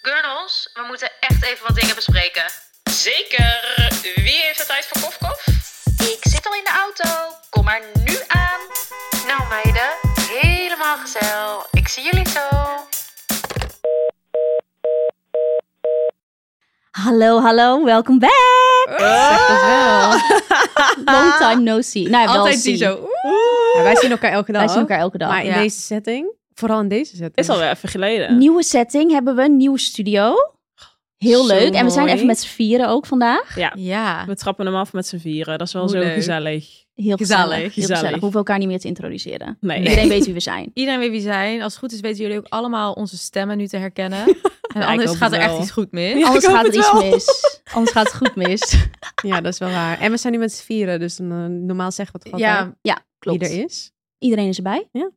Gurnels, we moeten echt even wat dingen bespreken. Zeker. Wie heeft de tijd voor kofkof? Ik zit al in de auto. Kom maar nu aan. Nou meiden, helemaal gezellig. Ik zie jullie zo. Hallo, hallo, welkom back! Zeg dat wel. Long time no see. Nou, wel Ah. Altijd die see. zo. Ja, wij zien elkaar elke dag. Wij zien elkaar elke dag. Maar in ja. deze setting, vooral in deze setting. Is alweer even geleden. Nieuwe setting hebben we, nieuwe studio. Heel Zo leuk. En we zijn mooi. even met z'n vieren ook vandaag. Ja. We trappen hem af met z'n vieren. Dat is wel Hoe zo leuk. gezellig. Heel gezellig. Gezellig, Heel gezellig. We hoeven elkaar niet meer te introduceren. Nee. Iedereen weet wie we zijn. iedereen weet wie zijn. Als het goed is weten jullie ook allemaal onze stemmen nu te herkennen. En ik anders hoop gaat het er wel. echt iets goed mis. Ja, Anders ik hoop gaat er het iets wel. mis. Anders gaat het goed mis. ja, dat is wel waar. En we zijn nu met z'n vieren, dus dan, eh, normaal zeggen we het altijd Ja, Ja, wie klopt. er is. Iedereen is erbij. Ja.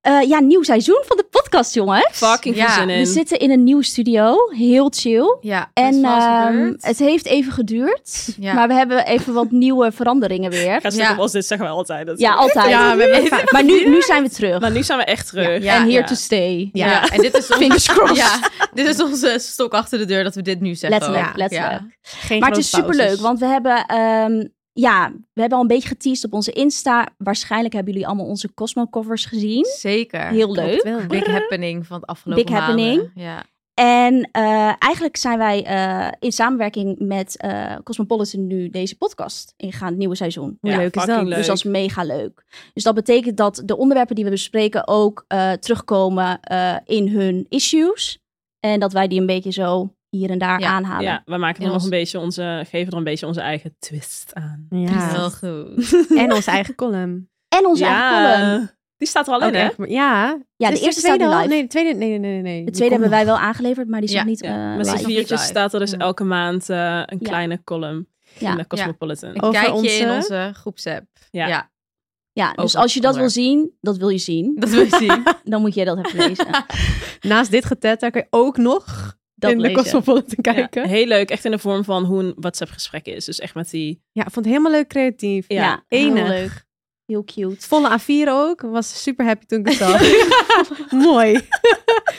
Eh, ja, nieuw seizoen van de podcast, jongens. Fucking Ja, veel zin We in. zitten in een nieuwe studio. Heel chill. ja. er is En van alles ehm, gebeurd. het heeft even geduurd, Ja. maar we hebben even wat nieuwe veranderingen weer. Gaat stuk Ja. op ons, dit zeggen we altijd. Dat- Ja, altijd. Ja, we hebben vijf- maar nu, nu zijn we terug. Maar nu zijn we echt terug. Ja, en here ja. to stay. ja. en dit is, Fingers onze, crossed. ja, dit is onze stok achter de deur dat we dit nu zeggen. Letterlijk, ook. letterlijk. Geen Maar het grote is superleuk, pauzes. want we hebben, ehm, ja, we hebben al een beetje geteased op onze Insta. Waarschijnlijk hebben jullie allemaal onze Cosmo-covers Ja, gezien. Zeker. Heel leuk. Wel. Big happening van het afgelopen Big maanden. happening. Ja. En eh, eigenlijk zijn wij eh, in samenwerking met eh, Cosmopolitan nu deze podcast ingegaan, het nieuwe seizoen. Hoe Ja, leuk is dat? fucking leuk. Dus dat is mega leuk. Dus dat betekent dat de onderwerpen die we bespreken ook eh, terugkomen eh, in hun issues. En dat wij die een beetje zo hier en daar Ja, aanhalen. Ja, we maken er In nog ons- een beetje onze, geven er een beetje onze eigen twist aan. Ja. Heel goed. En onze eigen column. En onze ja, eigen column. die staat er al in, hè? Ook echt, maar- Ja. Ja, Dus Is de eerste staat tweede nu al? live. Nee, de tweede, nee, nee, nee. nee. De tweede hebben wij wel aangeleverd, maar die is Ja, nog niet eh Ja. Met z'n live. vier- viertjes live. staat er dus Ja. elke maand eh, een Ja. kleine column Ja. in de Cosmopolitan. Over Kijk je in onze- onze groepsapp. Ja. Ja. Ja, dus Over als je dat wil onderwerp. zien, dat wil je zien, Dat wil je zien. dan moet jij dat even lezen. Naast dit getetter kun je ook nog Dat in de lezen. Cosmopolitan Ja, kijken. Ja. heel leuk, echt in de vorm van hoe een WhatsApp gesprek is. Dus echt met die... ik vond het helemaal leuk creatief. Ja, heel enig. leuk. Heel cute. Volle A4 ook. Was super happy toen ik het zag. Mooi.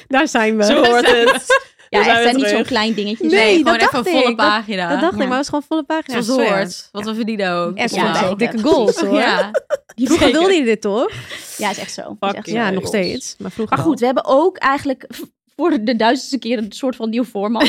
Daar zijn we. Zo hoort het. Ja, zijn echt we zijn niet terug. zo'n klein dingetje. Nee, Nee, dat gewoon even dacht een volle ik. Dat- pagina. Dat dacht ik, Ja. maar het was gewoon volle pagina. Zoals Zo, ja. hoort. Want we verdienen ook. Echt Ja, vond ik zeker. echt dikke goals hoor. Ja. Die Vroeger vroeger Zeker. wilde je dit toch? Ja, is echt zo. Is Fucking echt zo. Ja, Goals. nog steeds. Maar vroeger Maar goed, we hebben ook eigenlijk v- voor de duizendste keer een soort van nieuw format.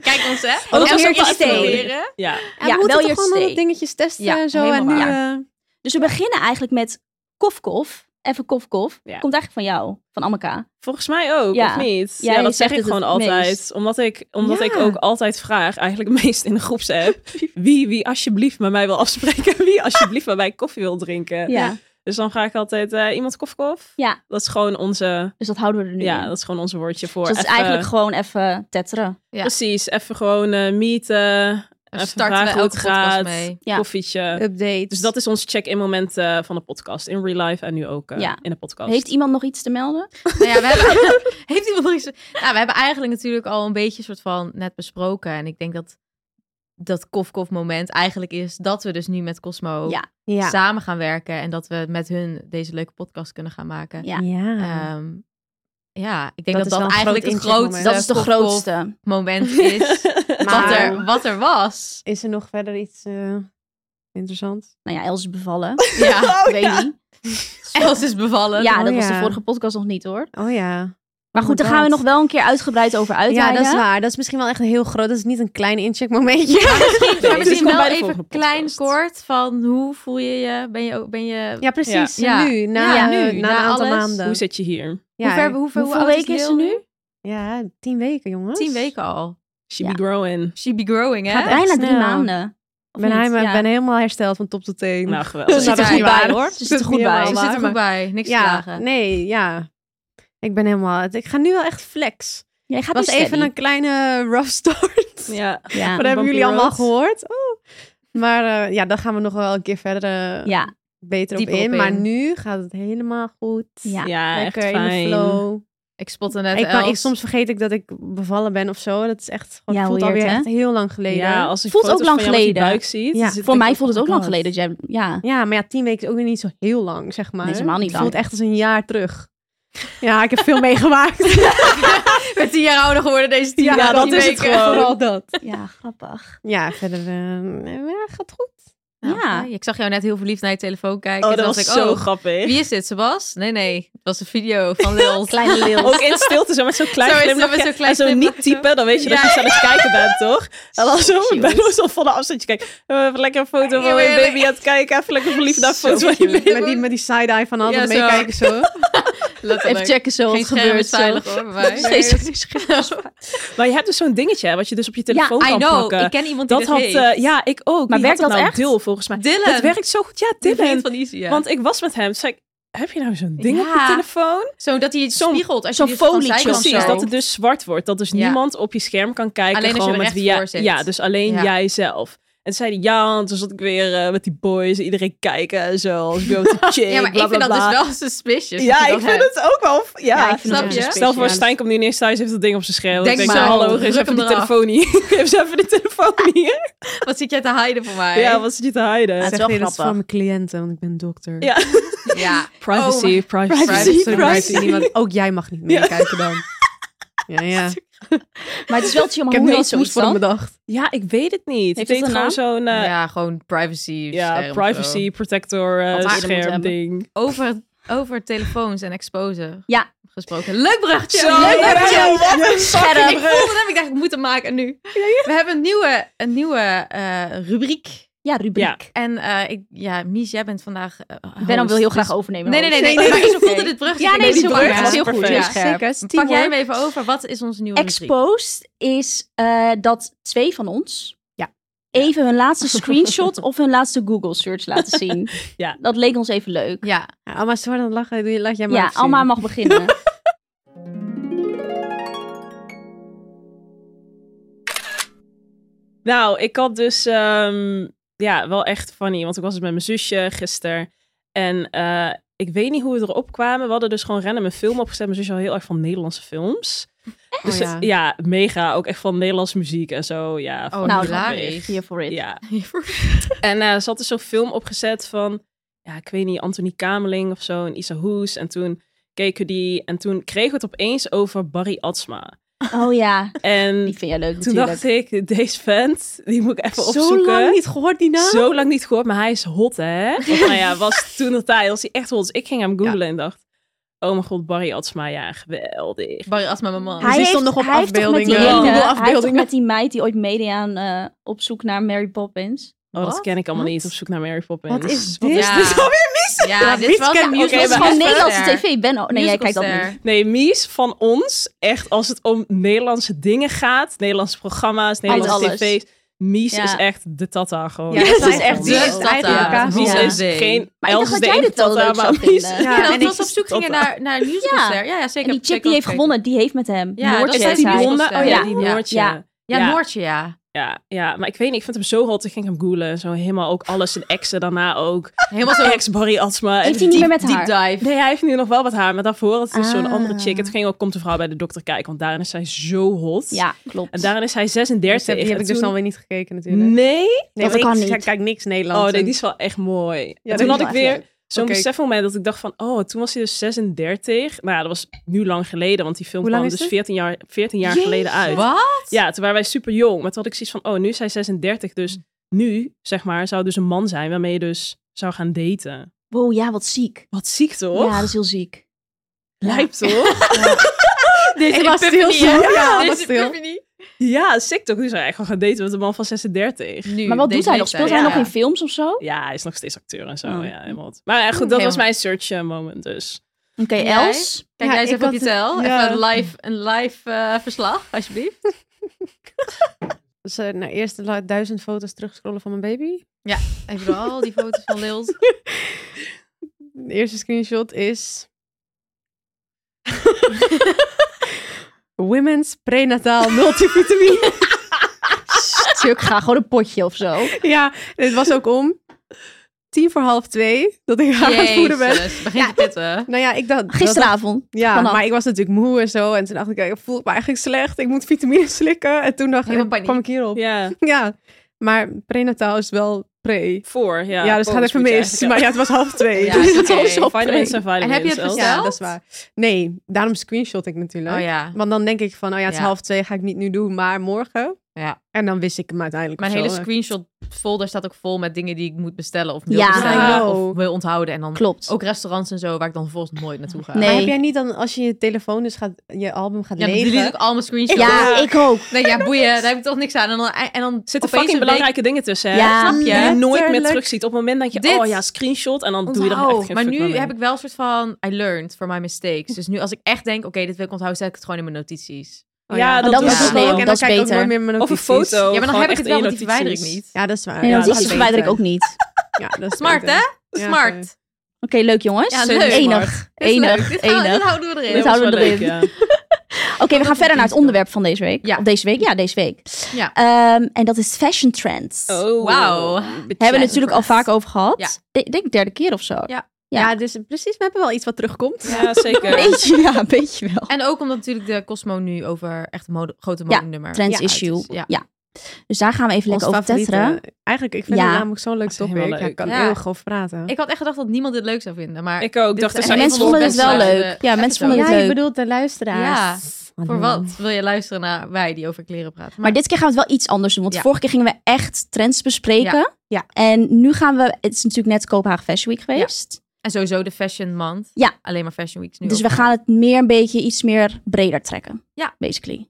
Kijk ons, Oh, hè? Ook Elke weer keer te stelen. proberen. Ja, wel. Ja, Ja, we wel moeten je toch gewoon steek. alle dingetjes testen Ja, en zo. En nu, helemaal eh, Dus we beginnen eigenlijk met kof kof. Even kof kof. Ja. Komt eigenlijk van jou, van Amaka. volgens mij ook, Ja. of niet? Jij ja, dat zeg zegt ik het gewoon het meest. altijd. Omdat, ik, omdat Ja. ik ook altijd vraag, eigenlijk meest in de groepsapp... wie, wie alsjeblieft met mij wil afspreken. Wie alsjeblieft met mij koffie wil drinken. Ja. Dus dan vraag ik altijd eh, iemand kof kof. Ja. Dat is gewoon onze... Dus dat houden we er nu Ja, in. dat is gewoon onze woordje voor. Dus dat is even- eigenlijk gewoon even tetteren. Ja. Precies, even gewoon eh, meeten. Daar even starten we vragen hoe elke het podcast gaat. mee. Ja. Koffietje. updates. Dus dat is ons check-in moment eh, van de podcast. In real life en nu ook eh, Ja. in de podcast. Heeft iemand nog iets te melden? Nou ja, we hebben, heeft iemand nog iets... Nou, we hebben eigenlijk natuurlijk al een beetje soort van net besproken. En ik denk dat dat kof-kof moment eigenlijk is dat we dus nu met Cosmo Ja. Ja. samen gaan werken. En dat we met hun deze leuke podcast kunnen gaan maken. Ja. Ja. Eh, Ehm, ja, ik denk Dat dat is dat, wel een eigenlijk groot het grootste incheckmoment. Dat is de kof-kof grootste. moment is wat, Maar- er, wat er was. Is er nog verder iets eh, interessants? Nou ja, Els is bevallen. Ja, Ik weet niet. Els is bevallen. Ja, Oh, dat was de ja. vorige podcast nog niet hoor. Oh ja. Maar goed, daar gaan we nog wel een keer uitgebreid over Ja, uitweiden. dat is waar. Dat is misschien wel echt een heel groot. Dat is niet een klein incheckmomentje. Nee, Maar dus misschien kom bij wel de even volgende klein podcast. kort van hoe voel je je? Ben je ook, ben je... Ja, precies. Ja. Nu, na, Ja, nu, eh, na, na een aantal alles. maanden. Hoe zit je hier? Ja. Hoe ver, hoe, ver- hoe Hoeveel oud weken is Lil ze nu? Ja, tien weken, jongens. Tien weken al. She Ja. be growing. She be growing, hè? Gaat echt Bijna drie snel. maanden. Of Ben, niet? hij, Ja. ben helemaal hersteld van top tot teen. Nou, Ze geweldig. zit er is goed niet bij waar. hoor. Ze Ze zit zit er niet goed bij. helemaal Ze waar. zit er goed bij. Niks te ja, klagen. nee, ja. Ik ben helemaal... Ik ga nu wel echt flex. Jij gaat Het nu was even steady. een kleine uh, rough start. Ja. Ja. Dat hebben Bumpy jullie allemaal road. gehoord. Oh. Maar eh, ja, daar gaan we nog wel een keer verder eh, Ja. beter op Dieper op in. Maar in. nu gaat het helemaal goed. Ehm, Ja. Ja, Lekker echt in fijn. de flow. Ik spotte net Ik, kan, Els. ik, soms vergeet ik dat ik bevallen ben of zo. Dat is echt gewoon, Ja, voelt weird, alweer hè? echt heel lang geleden. Ja, als ik Voelt foto's ook lang van jou met die geleden. buik ziet, Ja. zit ik Voor mij ook, voelt het oh ook my lang God. geleden. Dus dat jij- Ja. Ja, maar ja, tien weken is ook weer niet zo heel lang, zeg maar. Nee, is helemaal niet Het voelt lang. echt als een jaar terug. Ja, ik heb veel meegemaakt. Met tien jaar ouder geworden deze tien Ja, jaar. dat tien is het weken. gewoon. Vooral dat. Ja, grappig. Ja, verder eh, ja, gaat goed. Nou, Ja. oké. Ik zag jou net heel verliefd naar je telefoon kijken. oh, dat Toen was dacht ik, zo oh, grappig. Wie is dit, Sebas? Nee, nee. Het was een video van Lil. Kleine lil. Ook in stilte, zo met zo'n klein Zo is het, glimlachje. met zo'n klein en zo glimlachje. niet typen, dan weet je dat je Ja. iets aan het kijken bent, toch? En dan zo cute. bij ons al van de afstandje kijken. Eh, Even lekker een foto van mijn baby aan het kijken. Even lekker verliefd naar een Zo foto van cute. je baby. Met die, met die side-eye van Ja, altijd zo. meekijken zo. Even checken zo wat Geen er gebeurt. scherm is zo. veilig hoor, bij mij. Steeds Nee. op die scherm. Maar je hebt dus zo'n dingetje, hè, wat je dus op je telefoon I kan know. plakken. Ik ken iemand die dat dit had, heeft. eh, ja, ik ook. Maar Wie had werkt dat nou? echt? Dil, volgens mij. Dylan. Het werkt zo goed. Ja, Die vriend Dylan. van Izzy, ja. Want ik was met hem. Toen zei ik, heb je nou zo'n ding op je Ja. telefoon? zo dat hij het zo'n- spiegelt. als je zo'n die van folietje zijkant of Precies, zo. dat het dus zwart wordt. Dat dus Ja. niemand op je scherm kan kijken. Alleen als je gewoon er met recht wie jij- voor zit. Ja, dus alleen Ja. jijzelf. En toen zei hij, ja, en toen zat ik weer eh, met die boys, iedereen kijken en zo. Als go to chick, Ja, maar bla, ik vind bla, dat bla. dus wel suspicious. Ja, dat je ik dat vind hebt. het ook wel... Ja, ik vind Snap het je? wel Stel voor, speciaal. Stijn komt nu ineens thuis, heeft dat ding op zijn scherm. Denk ik denk maar, maar, hallo, druk geef ze even hem die eraf. telefoon hier. geef ze even die telefoon hier. Wat zit jij te hiden voor mij? Ja, wat zit je te hiden? Ja, Zeg het is wel nee, dat is grappig. voor mijn cliënten, want ik ben dokter. Ja. Ja. Privacy, Oh my- privacy. Privacy, Privacy, privacy. Niemand, ook jij mag niet meekijken dan. Ja, ja. Maar het is wel chill, Ik maar heb hoe nu al heet soms zoiets voor hem dan? bedacht. Ja, ik weet het niet. Heeft ik het weet een gewoon zo'n... eh, ja, gewoon privacy. Ja, scherm of privacy protector eh, Had ze eerder moeten scherm hebben. ding. zo. Over, over telefoons en exposen Ja. gesproken. Leuk bruggetje! leuk Leuk bruggetje! bruggetje. Ik Scherp. voelde hem, ik dacht, ik moet hem maken nu. We hebben een nieuwe, een nieuwe eh, rubriek. Ja, rubriek. En eh, ik, ja, Mies, jij bent vandaag... eh, Ik ben dan wil heel host, graag dus- overnemen. Nee, nee, nee, nee, host. maar ik voelde Oké. dit bruggetje. Ja, Ik nee, denk, die dit brug is was heel perfect. goed. Ja, Ja. Zeker, Pak jij hem teamwork. even over. Wat is onze nieuwe rubriek? Exposed is eh, dat twee van ons Ja. even hun laatste screenshot of hun laatste Google search laten zien. Ja. Dat leek ons even leuk. Ja, Ja, Alma, sorry dan lachen. Doe je- Laat jij maar Ja, even zien. Alma mag beginnen. Nou, ik had dus ehm, ja, wel echt funny, want ik was dus met mijn zusje gisteren. En eh, ik weet niet hoe we erop kwamen. We hadden dus gewoon random een film opgezet. Mijn zusje al heel erg van Nederlandse films. Dus ja. ja. mega. Ook echt van Nederlandse muziek en zo. Ja, Oh, fucking nou, grappig. hilarisch. Here for it. Ja. En eh ze had dus zo'n film opgezet van, ja, ik weet niet, Anthony Kameling of zo en Isa Hoes. En toen keken die en toen kregen we het opeens over Barry Atsma. Oh ja, En die vind jij leuk Toen natuurlijk. dacht ik, deze vent, die moet ik even Zo opzoeken. lang niet gehoord die naam. Zo lang niet gehoord, maar hij is hot, hè? Of, nou ja, was toen de tijd, was hij echt hot. Dus ik ging hem googlen en dacht, oh mijn god, Barry Atsma, ja, geweldig. Barry Asma, mijn man. Hij hij die heeft, stond nog op hij heeft toch met die ene- afbeeldingen. Google hij heeft toch afbeeldingen. met die meid die ooit meedeed aan eh, op zoek naar Mary Poppins. Oh, dat Wat? ken ik allemaal Wat? niet, op zoek naar Mary Poppins. Wat is Wat dit? Ja. dit alweer? Ja, dit Mies was kent een Mies musical. Dus dat Oké, is maar gewoon ster. Nederlandse tv. Ben, oh, nee, jij kijkt dat Musicalster. niet. Nee, Mies van ons, echt als het om Nederlandse dingen gaat, Nederlandse programma's, Nederlandse alles. tv's. Mies Ja. is echt de tata gewoon. Ja, dat dat is is echt de de tata. eigen Ja. Mies Ja. is geen... Maar ik Els dacht is dat jij de dit wel tata, leuk zou maar Mies... vinden. Ja, dat ik- was op zoek dat- gingen naar, naar een musicalster. Ja, ja, zeker. En die zeker chick die heeft gekeken. gewonnen, die heeft met hem. Ja, dat Noortje was Is heet die hij. blonde? Oh ja, Ja. die Ja. Noortje. Ja. Ja, Ja. Noortje, ja. Ja, ja, maar ik weet niet, ik vind hem zo hot. Ik ging hem googlen. Zo helemaal ook alles en exen daarna ook. Helemaal zo Ex Barry Atsma. Heeft En hij niet diep- meer met deep haar? dive. Nee, hij heeft nu nog wel wat haar. Maar daarvoor had het dus zo'n Ah. andere chick. Het ging ook, komt de vrouw bij de dokter kijken. Want daarin is zij zo hot. Ja, klopt. En daarin is hij Dus 36. die heb En ik dus toen- alweer niet gekeken natuurlijk. Nee? Nee, Dat want kan ik niet. kijk- kijk niks Nederlands. Oh nee, en- die is wel echt mooi. en dat toen is had wel ik echt weer leuk. zo'n Oké. besefmoment dat ik dacht van... Oh, toen was hij dus 36. Nou ja, dat was nu lang geleden. Want die film Hoe lang kwam is dus het? 14 jaar, 14 jaar geleden uit. Wat? Ja, toen waren wij super jong. Maar toen had ik zoiets van, oh, nu is hij 36. Dus Mm. nu, zeg maar, zou dus een man zijn waarmee je dus zou gaan daten. Wow, ja, wat ziek. Wat ziek toch? Ja, dat is heel ziek. Lijkt toch? Deze Ik was stil, epiphany, hè? zo. Ja, Deze was stil. epiphany. ja, ziek toch? Nu zou hij echt wel gaan daten met een man van 36. Nu, Maar wat deze doet hij nog? leeftijd, Speelt hij ja. nog in films of zo? Oké, Ja, hij is nog steeds acteur en zo. Oh. Ja, helemaal wat. Maar ja, goed, dat Helemaal. was mijn search eh, moment dus. En jij? Els? Kijk, Ja, jij is ik even op je had- tel. ja. Even een live, een live eh, verslag, alsjeblieft. Dus, eh, nou, eerst la- duizend foto's terugscrollen van mijn baby. Even door al die foto's van Lils. De eerste screenshot is... Women's prenataal multivitamine. Stuk, ga gewoon een potje of zo. ja, het was ook om tien voor half twee dat ik haar aan het voeden ben. Jezus, begin te pitten. Nou ja, ik dacht... dat- Gisteravond. Ja, vanaf. maar ik was natuurlijk moe en zo. En toen dacht ik, ik voel me eigenlijk slecht. Ik moet vitamine slikken. En toen dacht ik, Helemaal paniek. kwam ik hierop. Ja. Ja, maar prenataal is wel pre. Voor, ja. Ja, Oh, dus het gaat Boos even moet je mis. Maar eigenlijk- ja, het was half twee. Ja, dus het oké. was half Ja. Vitamins twee. en vitamins. En heb je het zelfs. besteld? Ja, dat is waar. Nee, daarom screenshot ik natuurlijk. Oh ja. Want dan denk ik van, oh ja, het is Ja. half twee, ga ik niet nu doen, maar morgen. Ja. En dan wist ik hem uiteindelijk. Mijn of zo. hele screenshot folder staat ook vol met dingen die ik moet bestellen of wil Ja. Ja. bestellen Oh. of wil onthouden. En dan Klopt. ook restaurants en zo waar ik dan vervolgens nooit naartoe ga. Nee. Maar heb jij niet dan, als je je telefoon dus gaat, je album gaat Ja, dan legen? delete ik al mijn screenshots. Ja, ik ook. Nee, ja, boeien. Daar heb ik toch niks aan. En dan, en dan Er opeens zitten fucking een week- belangrijke dingen tussen, hè? Ja. Snap je? Die je nooit meer Letterlijk. terugziet. Op het moment dat je, Dit. oh ja, screenshot. En dan doe je er Onthoud. echt geen Oh, Maar fuck meer nu mee. heb ik wel een soort van I learned from my mistakes. Dus nu als ik echt denk, oké, dit wil ik onthouden, zet ik het gewoon in mijn notities. Oh Ja, dat dat is doe ik wel- ook. En dat dan is kijk ik ook beter. nooit meer mijn Of een notities. foto. ja, maar dan Oh, gewoon heb ik echt het in wel, je want die verwijder ik notities. niet. Ja, dat is waar. Nee, ja, want dat die is is verwijder ik beter. ook niet. Ja, dat is Smart, beter. hè? Ja, Smart. oké. Oké, leuk jongens. Ja, Zo leuk. Enig, Dit is leuk. enig, Dit, gaan we- dit enig. houden we Nee, erin. Dit dat was houden we wel leuk, erin. ja. Oké, we gaan verder naar het onderwerp van deze week. Ja. Of deze week? Ja, deze week. Ja. Ehm, en dat is fashion trends. Oh. Wauw. Hebben we natuurlijk al vaak over gehad. Ja. Ik denk derde keer of zo. Ja. Ja. Ja. dus precies, we hebben wel iets wat terugkomt. Ja, zeker. Beetje, ja, een beetje wel. En ook omdat natuurlijk de Cosmo nu over echt mode, grote Ja, modenummer. Trends uit is. issue. Ja. Ja. Dus daar gaan we even Ons lekker over favoriete. tetteren. Eigenlijk, ik vind Ja. het namelijk zo'n leuk Dat is topic. helemaal Ja, leuk. ik kan Ja. eeuwig over praten. Ik had echt gedacht dat niemand dit leuk zou vinden. Maar Ik ook. Dit dacht, er is zijn echt mensen echt vonden het mensen wel best leuk. uit. leuk. Ja, mensen episode. vonden het ja, leuk. je bedoelt de luisteraars. voor wat wil je luisteren naar wij die over kleren praten? Maar dit keer gaan we het wel iets anders doen. Want Ja. vorige keer gingen we echt trends bespreken. Ja. En nu gaan we... Het is natuurlijk net Kopenhagen Fashion Week geweest. En sowieso de Fashion Month. Ja. Alleen maar Fashion Weeks nu. Dus we ook. gaan het meer een beetje iets meer breder trekken. Ja. Basically.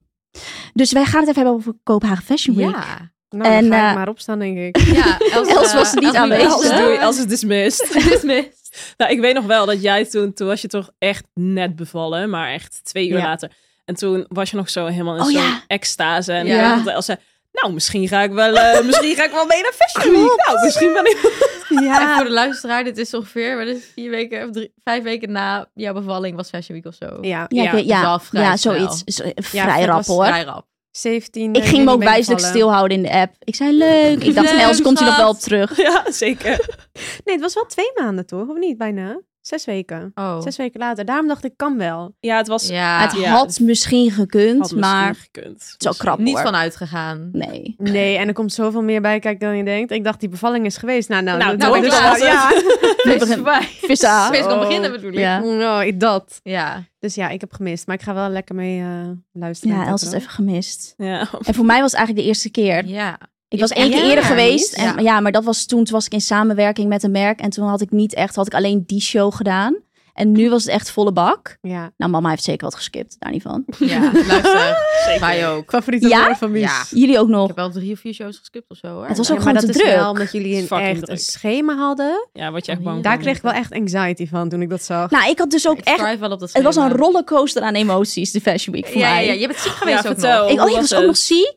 Dus wij gaan het even hebben over Kopenhagen Fashion Week. Ja. Nou, En, dan ga eh, ik maar opstaan, denk ik. ja Els, Els eh, was niet Els aanwezig. was Als er. het, doe, als het dismissed. Dismissed. Nou, ik weet nog wel dat jij toen, toen was je toch echt net bevallen, maar echt twee uur Ja. later. En toen was je nog zo helemaal in Oh, zo'n ja. extase. En Ja. ja. Els zei, nou, misschien ga ik wel, eh, misschien ga ik wel mee naar Fashion Week. Nou, misschien ben ik... En voor Ja. de luisteraar, dit is ongeveer wel eens vier weken of drie, vijf weken na jouw bevalling was Fashion Week of zo. Ja, Ja, ik Ja, weet- ja, dat is wel vrij ja, snel. zoiets. Zo- eh, dat vrij was rap hoor. Vrij rap. 17. Ik eh, ging me juni ook ben ik wijselijk bevallen. stilhouden in de app. Ik zei leuk. Ik dacht, Leuk, Els komt hij nog wel op schat. terug. Ja, zeker. Nee, het was wel twee maanden toch? Of niet? Bijna. Zes weken. Oh. Zes weken later. Daarom dacht ik, kan wel. Ja, het was... ja. het ja, had misschien gekund, had misschien maar het gekund. Het is wel krap niet hoor. van uitgegaan. Nee. Nee, en er komt zoveel meer bij kijken dan je denkt. Ik dacht, die bevalling is geweest. Nou, nou, Nou, dat nou, dat- ik laat ja. We Feest beginnen- voorbij. Vissa. Feest kan Oh. beginnen bedoel ik. Ja. Nou, ik- dat. Ja. Dus ja, ik heb gemist. Maar ik ga wel lekker mee eh, luisteren. Ja, Els had even gemist. Ja. En voor mij was het eigenlijk de eerste keer. Ja. Ik was één Ja, keer eerder ja, geweest. niet? En, ja, maar dat was toen, toen was ik in samenwerking met een merk. En toen had ik niet echt, had ik alleen die show gedaan. En nu was het echt volle bak. Ja. Nou, mama heeft zeker wat geskipt, daar niet van. Ja, luister. Zeker. Wij ook. Favoriete Ja? woord van Mies. Ja. Jullie ook Ik nog. heb wel drie of vier shows geskipt of zo hoor. Het was Ja, ook maar gewoon dat te is druk. wel omdat jullie een Fucking echt druk. Mhm. een schema hadden. Ja, word je echt Oh, bang. ja. Daar van. kreeg ik wel echt anxiety van toen ik dat zag. Nou, ik had dus ook Ik echt... thrive wel op dat Het was een schema. rollercoaster aan emoties, de Fashion Week voor Ja, ja, mij. ja, je bent ziek geweest ook vertel. nog. Ik, oh, Hoe ik was was ook het? nog ziek.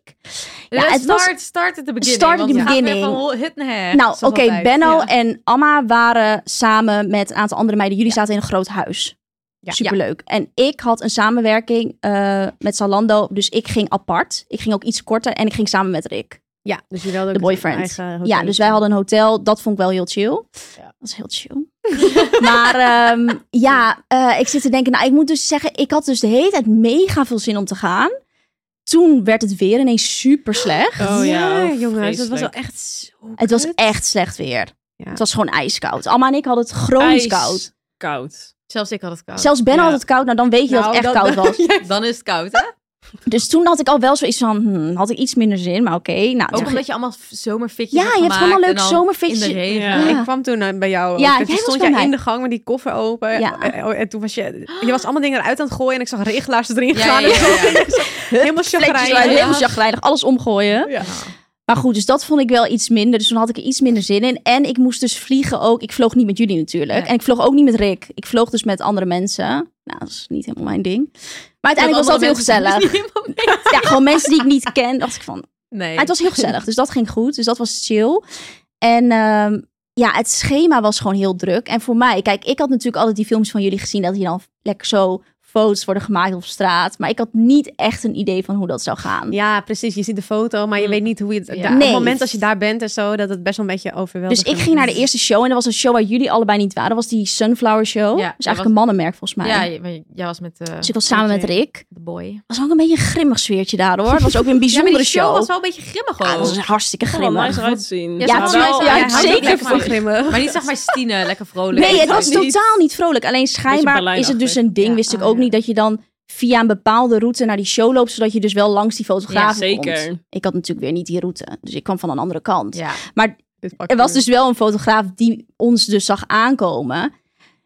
Ja, Dus het was- start, start at the beginning. Start at want the we gaan weer beginning. Van hit naar her. Nou, oké, zoals altijd. Benno Ja. en Amma waren samen met een aantal andere meiden. Jullie zaten in een groot huis. Superleuk. En ik had een samenwerking eh, met Zalando, dus ik ging apart. Ik ging ook iets korter en ik ging samen met Rick. ja, dus jullie hadden Nou, De ook een boyfriend. eigen Ja, hotel. dus wij hadden een hotel. Dat vond ik wel heel chill. Ja. Dat is heel chill. maar ehm, ja, eh, ik zit te denken, nou, ik moet dus zeggen, ik had dus de hele tijd mega veel zin om te gaan. Toen werd het weer ineens super slecht. Oh ja, oh, jongens, dat was wel vreselijk. echt zo Het was kut. echt slecht weer. Ja. Het was gewoon ijskoud. Alma en ik hadden het chronisch koud. Koud. Zelfs ik had het koud. Zelfs Ben Ja. had het koud. Nou, dan weet je dat het echt koud was. Oh, Dan is het koud, hè? Dus toen had ik al wel zoiets van... hmm, had ik iets minder zin, maar oké. Nou, Ook toen- omdat je allemaal f- zomerfitjes Ja, hebt je hebt gewoon gemaakt leuk en dan zomerfitjes. In de regen. Ja. Ik kwam toen eh, bij jou. Ja, Ja, toen jij was stond bij jij mij. in de gang met die koffer open. Ja. Eh, oh, En toen was je... Je was allemaal dingen eruit aan het gooien. En ik zag regelaars erin Ja, gaan. Dus ja, ja, ja. Helemaal Vleetjes chagrijnig. waren Ja. helemaal chagrijnig. Alles omgooien. Ja. Maar goed, dus dat vond ik wel iets minder. Dus toen had ik er iets minder zin in. En ik moest dus vliegen ook. Ik vloog niet met jullie natuurlijk. Nee. En ik vloog ook niet met Rick. Ik vloog dus met andere mensen. Nou, dat is niet helemaal mijn ding. Maar uiteindelijk was dat heel gezellig. Ja, gewoon mensen die ik niet ken. Dacht ik van, Nee. Maar het was heel gezellig, dus dat ging goed. Dus dat was chill. En ehm, ja, het schema was gewoon heel druk. En voor mij, kijk, ik had natuurlijk altijd die films van jullie gezien... dat je dan lekker zo foto's worden gemaakt op straat. Maar ik had niet echt een idee van hoe dat zou gaan. Ja, precies. Je ziet de foto, maar je Mm. weet niet hoe je het... Ja. da- Op Nee. het moment als je daar bent en zo, dat het best wel een beetje Dus overweldigend ik ging naar de is. eerste show en er was een show waar jullie allebei niet waren. Dat was die Sunflower Show. Ja, dat is dat eigenlijk was- een mannenmerk volgens mij. Ja, je- maar jij was met eh, dus ik was samen met Oké. Rick. de boy. was ook een beetje een grimmig sfeertje daar hoor. Het was ook weer een bijzondere ja, maar die show. show was wel een beetje grimmig Ja, ook. dat was hartstikke Gewoon grimmig. nice eruit te zien. Ja, Ja, Maar het wel- was- ja, ja, hij houdt ook zeker lekker van van grimmig. Maar niet zeg maar Stine, lekker vrolijk. Nee, het Dat was niet. totaal niet vrolijk. Alleen schijnbaar is het dus een ding, Ja. wist ik Ah, ook ja. niet, dat je dan via een bepaalde route naar die show loopt, zodat je dus wel langs die Ja, fotografen komt. zeker. Ik had natuurlijk weer niet die route, dus ik kwam van een andere kant. Ja. Dit pak Er was je. dus wel een fotograaf die ons dus zag aankomen.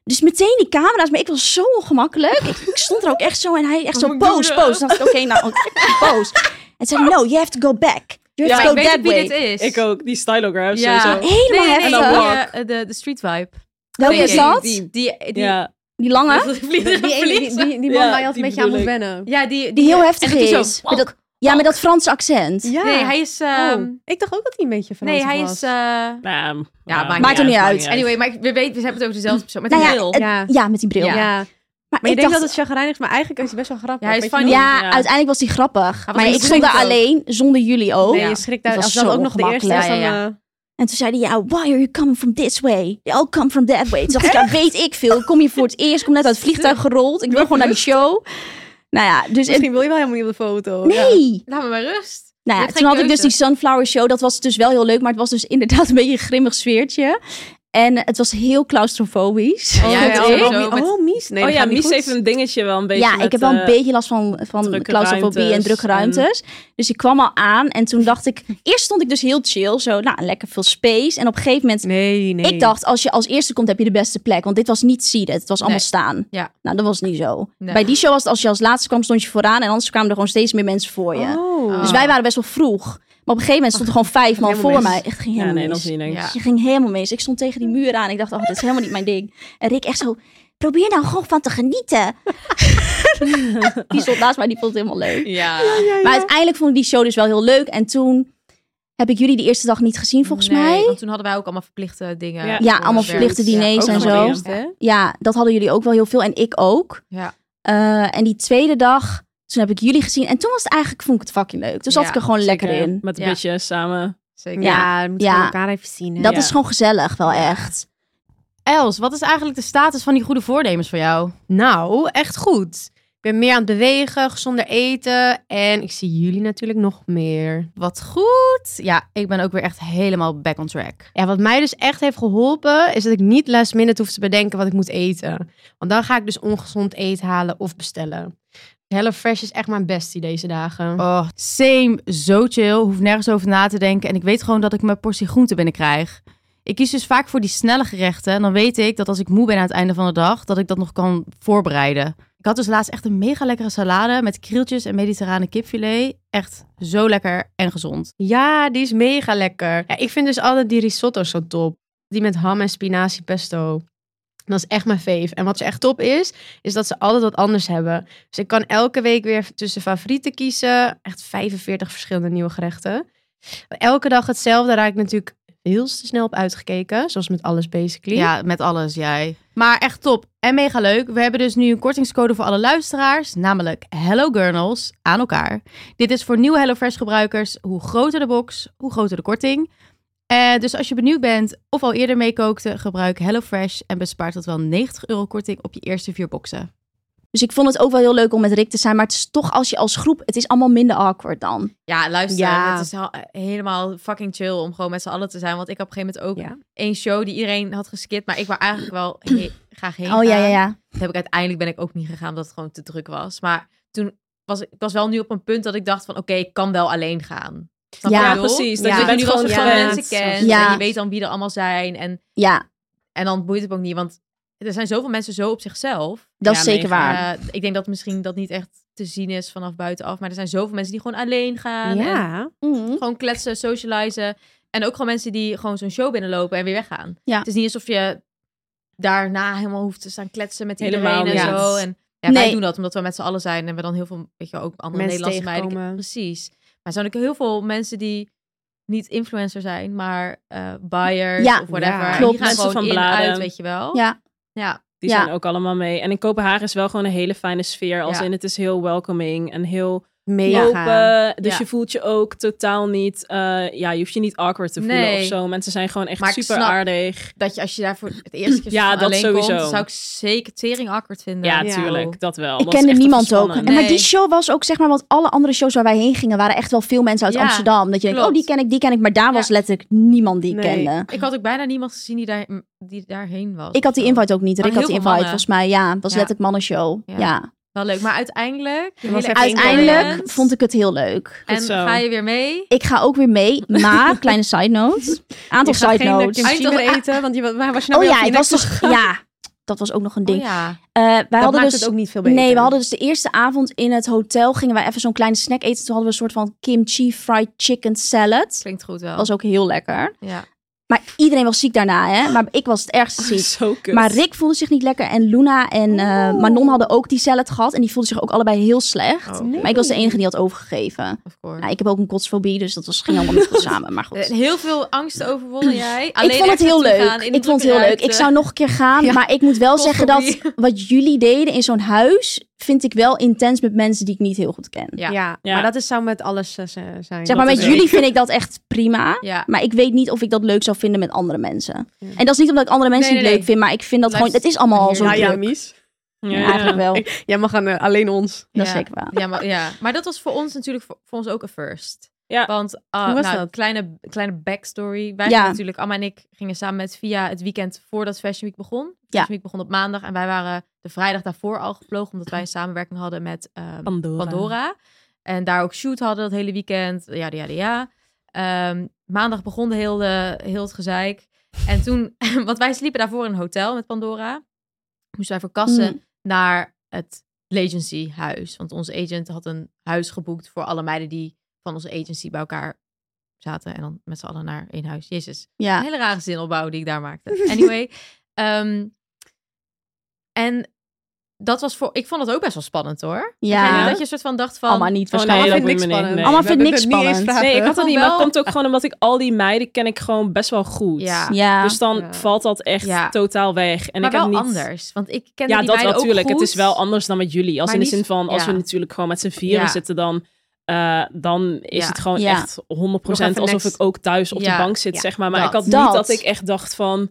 Dus meteen die camera's, maar ik was zo ongemakkelijk. Ik, ik stond er ook echt zo en hij echt zo, moet ik doen, pose, eh? pose. Dan dacht ik, oké, nou, oké, pose. En zei, hij, no, you have to go back. You Ja, have to go ik weet that ook wie way. dit is. Ik ook, die stylograms Ja. sowieso. Helemaal Nee, nee, heftig. die, Walk. eh, de, de street vibe. Welke Nee, is dat? Die, Die, die, die, die, Ja. lange? die, Die, ene- die, die, die man Ja, waar je altijd die een beetje bedoel aan moet ik. wennen. Ja, die, Die heel en heftig dat hij zo- is. Met dat, ja, met dat Franse accent. Ja. Nee, hij is... Oh, ehm, ik dacht ook dat hij een beetje Frans nee, hij was. is... eh, Nou, ja, maakt niet Maakt er niet uit. Anyway, maar ik- we, weten, we hebben het over dezelfde persoon. Met Nou die ja, bril. het- ja. Ja, met die bril. ja. eh, Ja. Maar Maar je ik denkt dacht, dat het chagrijnig is, maar eigenlijk is hij best wel grappig. Ja, hij is Weet je funny. niet? ja, Ja. uiteindelijk was die grappig. was maar niet ik stond daar vreemd ook. alleen, zonder jullie ook. Nee, je schrikt daar. Dat Als was dat zo ook nog de eerste is, ongemakkelijk. dan... Ja, ja, eh, En toen zei hij, ja, why are you coming from this way? They all come from that way. Toen dacht ik, ja, weet ik veel. Kom je voor het eerst, kom net uit het vliegtuig gerold. Ik wil gewoon naar die show. Nou ja, dus... het- Misschien wil je wel helemaal niet op de foto. ja. nee! Laat me maar rust. Nou Je ja, hebt toen geen had ik dus keuze. die Sunflower Show. Dat was dus wel heel leuk, maar het was dus inderdaad een beetje een grimmig sfeertje. En het was heel claustrofobisch. Ja, Oh, jij ja, hebt oh, ook mi- zo met- oh, Mies. Nee, oh dat ja, gaat niet Mies goed. heeft een dingetje wel een beetje ja, met, ik heb wel een eh, beetje last van, van drukke claustrofobie en ruimtes drukke en- ruimtes. Dus ik kwam al aan en toen dacht ik... Eerst stond ik dus heel chill, zo, nou, lekker veel space. En op een gegeven moment... Nee, nee. Ik dacht, als je als eerste komt, heb je de beste plek. Want dit was niet seated, het was allemaal Nee. staan. Ja. Nou, dat was niet zo. Nee. Bij die show was het, als je als laatste kwam, stond je vooraan. En anders kwamen er gewoon steeds meer mensen voor je. Oh. Dus Ah. wij waren best wel vroeg. Maar op een gegeven moment stond er gewoon vijf man helemaal voor mis. mij. Echt, het ging Ja, helemaal nee, mis. dat is niet niks. Ja. Je ging helemaal mis. Ik stond tegen die muur aan. Ik dacht, oh, dit is helemaal niet mijn ding. En Rick echt zo, probeer nou gewoon van te genieten. die stond naast mij, die vond het helemaal leuk. Ja. Maar uiteindelijk vond ik die show dus wel heel leuk. En toen heb ik jullie die eerste dag niet gezien, volgens Nee, mij. Want toen hadden wij ook allemaal verplichte dingen. Ja, voor allemaal werk. verplichte diners ook en voor zo. het eerst, hè? Ja, dat hadden jullie ook wel heel veel. En ik ook. Ja. Eh, en die tweede dag, toen heb ik jullie gezien. En toen was het eigenlijk, vond ik het fucking leuk. Toen zat Ja, ik er gewoon lekker zeker, in. Met een Ja. beetje samen. Zeker. Ja, we moeten Ja. we elkaar even zien. hè. Dat Ja. is gewoon gezellig, wel echt. Els, wat is eigenlijk de status van die goede voornemens voor jou? Nou, echt goed. Ik ben meer aan het bewegen, gezonder eten. En ik zie jullie natuurlijk nog meer. Wat goed. Ja, ik ben ook weer echt helemaal back on track. Ja, wat mij dus echt heeft geholpen, is dat ik niet last minute hoef te bedenken wat ik moet eten. Want dan ga ik dus ongezond eten halen of bestellen. HelloFresh is echt mijn bestie deze dagen. Oh, same. Zo chill. Hoef nergens over na te denken. En ik weet gewoon dat ik mijn portie groente binnenkrijg. Ik kies dus vaak voor die snelle gerechten. En dan weet ik dat als ik moe ben aan het einde van de dag, dat ik dat nog kan voorbereiden. Ik had dus laatst echt een mega lekkere salade met krieltjes en mediterrane kipfilet. Echt zo lekker en gezond. Ja, die is mega lekker. Ja, ik vind dus altijd die risotto zo top. Die met ham en spinazie pesto. Dat is echt mijn fave. En wat ze echt top is, is dat ze altijd wat anders hebben. Dus ik kan elke week weer tussen favorieten kiezen. Echt 45 verschillende nieuwe gerechten. Elke dag hetzelfde raak ik natuurlijk heel te snel op uitgekeken. Zoals met alles basically. Ja, met alles jij. Maar echt top en mega leuk. We hebben dus nu een kortingscode voor alle luisteraars, namelijk Hello Gurnals aan elkaar. Dit is voor nieuwe HelloFresh gebruikers. Hoe groter de box, hoe groter de korting. Eh, dus als je benieuwd bent of al eerder meekookte, gebruik HelloFresh en bespaart tot wel 90 euro korting op je eerste vier boxen. Dus ik vond het ook wel heel leuk om met Rick te zijn. Maar het is toch als je als groep, het is allemaal minder awkward dan. Ja, luister, Ja. het is he- helemaal fucking chill om gewoon met z'n allen te zijn. Want ik had op een gegeven moment ook Ja. één show die iedereen had geskipt, maar ik wou eigenlijk wel he- graag heen Oh ja, ja, gaan. ja. Dat heb ik uiteindelijk ben ik ook niet gegaan omdat het gewoon te druk was. Maar toen was ik ik was wel nu op een punt dat ik dacht van oké, ik kan wel alleen gaan. Snap je Ja, wat ik bedoel? precies. Dat Dat Ja. je je bent nu gewoon wel gewoon zoveel gewend. mensen kent Ja. en je weet dan wie er allemaal zijn en Ja, en dan boeit het ook niet, want er zijn zoveel mensen zo op zichzelf. dat is Ja, zeker mega. waar. Eh, ik denk dat misschien dat niet echt te zien is vanaf buitenaf, maar er zijn zoveel mensen die gewoon alleen gaan en Ja. Mm. gewoon kletsen, socializen en ook gewoon mensen die gewoon zo'n show binnenlopen en weer weggaan. Ja. Het is niet alsof je daarna helemaal hoeft te staan kletsen met iedereen Helemaal en niet. zo. En ja, wij Nee. doen dat omdat we met z'n allen zijn en we dan heel veel, weet je, wel, ook andere Mensen Nederlandse meiden. tegenkomen. Precies. Maar er zijn ook heel veel mensen die niet influencer zijn, maar eh buyers Ja, of whatever. ja. En Klopt. Die gaan Mensen gewoon van in, bladen. uit, weet je wel. Ja. Ja. Die Ja. zijn ook allemaal mee. En in Kopenhagen is wel gewoon een hele fijne sfeer. Als Ja. in het is heel welcoming en heel Mega. open. Dus Ja. je voelt je ook totaal niet... eh, ja, je hoeft je niet awkward te voelen Nee. of zo. Mensen zijn gewoon echt Maar ik super snap- aardig. Dat je als je daar voor het eerste keer Ja, van dat alleen sowieso. komt, zou ik zeker tering awkward vinden. Ja, Ja. tuurlijk. Dat Ik wel. Dat is kende echt niemand ook. spannend. En Maar die Nee. show was ook, zeg maar, want alle andere shows waar wij heen gingen, waren echt wel veel mensen uit Ja, Amsterdam. Dat je denkt, klopt. oh, die ken ik, die ken ik. Maar daar was Ja. letterlijk niemand die ik Nee. kende. Ik had ook bijna niemand gezien die, daar, die daarheen was. Ik had die Zo. invite ook niet. Maar Rick had die heel invite, veel mannen. volgens mij. Ja, het was Ja. letterlijk mannenshow. Ja. Ja. Wel leuk, maar uiteindelijk... de was hele even Uiteindelijk experience. vond ik het heel leuk. En Goed zo. ga je weer mee? Ik ga ook weer mee, maar, kleine side note, aantal Je gaat side geen notes. kimchi Eind- meer eten, want je, waar was je nou Oh weer ja, op het was die next- toch, ja, dat was ook nog een ding. Oh ja. Eh, wij Dat hadden maakt dus, het ook niet veel beter. nee, we hadden dus de eerste avond in het hotel, gingen wij even zo'n kleine snack eten. Toen hadden we een soort van kimchi fried chicken salad. Klinkt goed wel. Dat was ook heel lekker. Ja. Maar iedereen was ziek daarna, hè. Maar ik was het Oh, ergste ziek. Zo kut. Maar Rick voelde zich niet lekker en Luna en eh, Oh. Manon hadden ook die salad gehad. En die voelden zich ook allebei heel slecht. Oh, Maar ik was de enige die had Oh. overgegeven. of course. Nou, ik heb ook een kotsfobie, dus dat was, ging allemaal niet goed samen. Maar goed. Eh, Heel veel angsten overwonnen jij. Alleen ik vond het echt heel naartoe leuk. gaan in de Ik vond het heel leuk. drukke Ik zou nog een keer gaan. Ja. Maar ik moet wel zeggen dat Kotsfobie. wat jullie deden in zo'n huis... vind ik wel intens met mensen die ik niet heel goed ken. Ja. Ja. Ja. maar dat is, zou met alles eh, zijn. zeg maar, dat met is- jullie vind ik dat echt prima. Ja. Maar ik weet niet of ik dat leuk zou vinden met andere mensen. Ja. En dat is niet omdat ik andere mensen Nee, niet nee, leuk vind. Maar ik vind dat Blijft gewoon... Het is allemaal al zo Nou heerlijk. ja, druk. Mies. Ja, ja. Eigenlijk wel. Jij mag aan eh, alleen ons. Dat Ja. zeker wel. Ja maar, ja, maar dat was voor ons natuurlijk voor, voor ons ook een first. Ja. Want eh, Hoe was nou, dat? Kleine, kleine backstory. Wij Ja. gingen natuurlijk, Amma en ik gingen samen met Via het weekend voordat Fashion Week begon. Fashion Ja. Week begon op maandag en wij waren de vrijdag daarvoor al gevlogen. Omdat wij een samenwerking hadden met ehm, Pandora. Pandora. En daar ook shoot hadden dat hele weekend. Ja, ja, ja. Ehm, maandag begon de heel, de, heel het gezeik. En toen, want wij sliepen daarvoor in een hotel met Pandora. Moesten wij verkassen Mm. naar het Legency huis. Want onze agent had een huis geboekt voor alle meiden die van onze agency bij elkaar zaten. En dan met z'n allen naar één huis. Jezus, een Ja. hele rare zinopbouw die ik daar maakte. Anyway. ehm, en dat was voor... Ik vond het ook best wel spannend hoor. Ja. Dat je een soort van dacht van... Allemaal niet Oh, nee, waarschijnlijk. dat vindt moet niks me niet. spannend. Nee. Allemaal We vindt hebben niks het niet eens spannend. praten. Nee, ik had dat Gewoon niet. Maar wel- het komt ook gewoon omdat ik al die meiden ken ik gewoon best wel goed. Ja. ja. Dus dan Ja. valt dat echt Ja. totaal weg. En maar ik heb wel niet... anders. Want ik ken Ja, die dat meiden ook natuurlijk. Het goed. is wel anders dan met jullie. Als Maar in de niet- zin van, als ja. we natuurlijk gewoon met z'n vieren Ja. zitten, dan, eh, dan is Ja. het gewoon Ja. echt 100% Nog even alsof next. ik ook thuis op Ja. de bank zit, Ja. zeg maar. Maar Dat. ik had Dat. niet dat ik echt dacht van,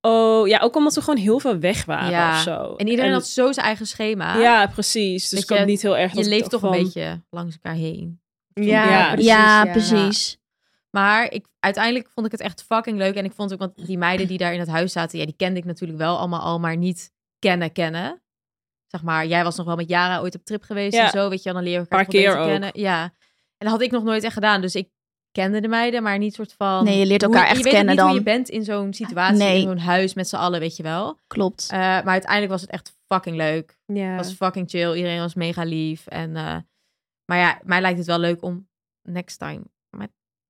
oh ja, ook omdat we gewoon heel veel weg waren Ja. of zo. En iedereen had zo zijn eigen schema. Ja, precies. Dus Dat ik had je- niet heel erg... Je dat ik leeft dacht toch van- een beetje langs elkaar heen. ja, Ja. ja. precies. Maar ik, uiteindelijk vond ik het echt fucking leuk. En ik vond ook, want die meiden die daar in het huis zaten, ja, die kende ik natuurlijk wel allemaal al, maar niet kennen kennen. Zeg maar, jij was nog wel met Jara ooit op trip geweest Ja. en zo, weet je, dan leer je elkaar Paar toch wel keer beter ook. kennen. Ja. En dat had ik nog nooit echt gedaan, dus ik kende de meiden, maar niet soort van... Nee, je leert hoe- elkaar echt je weet ook kennen niet dan. hoe je bent in zo'n situatie, Nee. in zo'n huis met z'n allen, weet je wel. Klopt. Eh, maar uiteindelijk was het echt fucking leuk. Ja. Het was fucking chill, iedereen was mega lief. En, eh, maar ja, mij lijkt het wel leuk om next time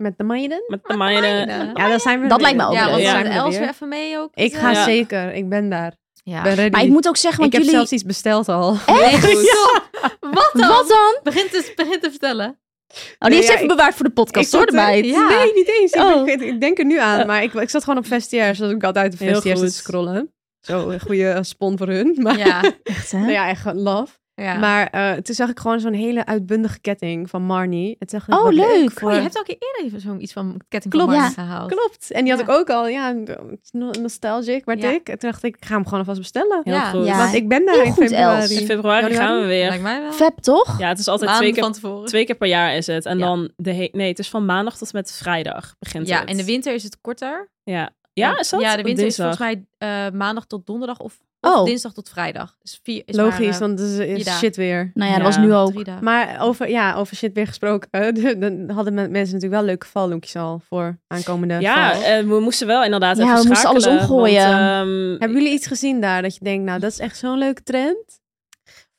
Met de meiden? Met de meiden. meiden. Ja, daar zijn we Dat weer. lijkt me ook ja, leuk. want Ja. zijn we Els weer weer. even mee ook. Ik ga Ja. zeker. Ik ben daar. Ik ben Ja. ready. Maar ik moet ook zeggen, want ik heb jullie... zelfs iets besteld al. Echt? Nee, stop. Wat dan? Wat dan? Begin, te, begin te vertellen. Oh, die Nee, is ja, even ik- bewaard voor de podcast, hoor, zat er- erbij. Ja. Nee, niet eens. Ik, Oh. ik, ik denk er nu aan. Maar ik, ik zat gewoon op vestiaires. Dus ik had uit de Heel vestiaires goed. te scrollen. Zo, een goede eh, spon voor hun. Maar ja, Ja. Echt, hè? nou ja echt gewoon love. ja. Maar eh, toen zag ik gewoon zo'n hele uitbundige ketting van Marnie. En toen dacht ik, Oh, wat leuk. Oh, voor- je hebt ook eerder even zo'n iets van ketting Klopt, van Marnie ja. gehaald. eh, Klopt. En die had Ja. ik ook al. Ja, het is no- nostalgic, maar Ja. dik. En toen dacht ik, ik ga hem gewoon alvast bestellen. Heel Ja. goed. Ja. Want ik ben daar Heel in goed, Els. februari. In februari Januari? gaan we weer. Lijkt mij wel. Vet, toch? Ja, het is altijd Maanden twee keer van tevoren. Twee keer per jaar is het. En Ja. dan de he- Nee, het is van maandag tot met vrijdag begint ja, het. in de winter is het korter. Ja. Ja, is dat? Ja, de Op winter is dinsdag? volgens mij eh, maandag tot donderdag of, of Oh. dinsdag tot vrijdag. Is vier, is Logisch, maar, eh, want het is, is vier dagen. shit weer. Nou ja, dat Ja. was nu ook. drie dagen. Maar over, ja, over shit weer gesproken. eh, de- dan hadden men- mensen natuurlijk wel leuke vallonkjes al voor aankomende Ja, val. eh, we moesten wel inderdaad Ja, even we moesten alles schakelen, omgooien. want, ehm, Hebben jullie iets gezien daar dat je denkt, nou, dat is echt zo'n leuke trend?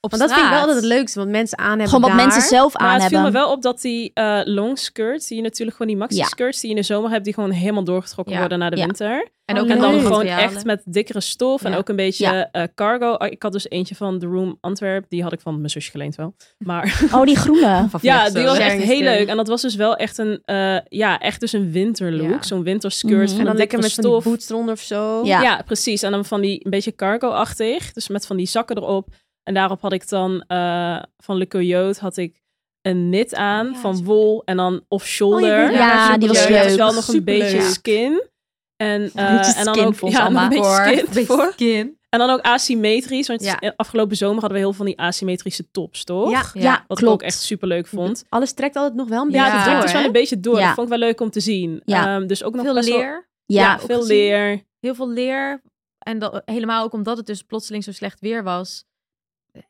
Op Want dat vind ik wel altijd het leukste, want mensen aan hebben Gewoon wat daar. mensen zelf aan Maar het viel me hebben. wel op dat die eh long skirts, die je natuurlijk gewoon die maxi Ja. skirts die je in de zomer hebt, die gewoon helemaal doorgetrokken Ja. worden naar de Ja. winter. En ook En dan andere gewoon materialen. echt met dikkere stof en Ja. ook een beetje Ja. eh, cargo. Ik had dus eentje van The Room Antwerp, die had ik van mijn zusje geleend wel. Maar Oh, die groene. Van Ja, Flexo. die was echt Sharing is heel caring. leuk. En dat was dus wel echt een, eh, ja, echt dus een winterlook. Ja. Zo'n winterskirt Mhm. van En dan een lekker dikke met van die stof. boots eronder of zo. Ja. ja. precies. En dan van die een beetje cargo-achtig. Dus met van die zakken erop. En daarop had ik dan eh, van Le Coyote had ik een knit aan ja, van super. wol en dan off-shoulder. Ja, die was Dus leuk. wel nog een Superleuk. beetje Ja. skin. En, eh, beetje en dan skin ook voor ja, nog Salma. een beetje skin voor. skin. En dan ook asymmetrisch. Want Ja. eh, afgelopen zomer hadden we heel veel van die asymmetrische tops, toch? Ja. Ja, Wat klopt. ik ook echt super leuk vond. Alles trekt altijd nog wel een Ja, Ja. dat trekt dus wel hè? een beetje door. Ja. Dat vond ik wel leuk om te zien. Ja. Ehm, dus ook nog Veel best wel- leer. Ja, ja, veel gezien. leer. Heel veel leer. En dat, helemaal ook omdat het dus plotseling zo slecht weer was.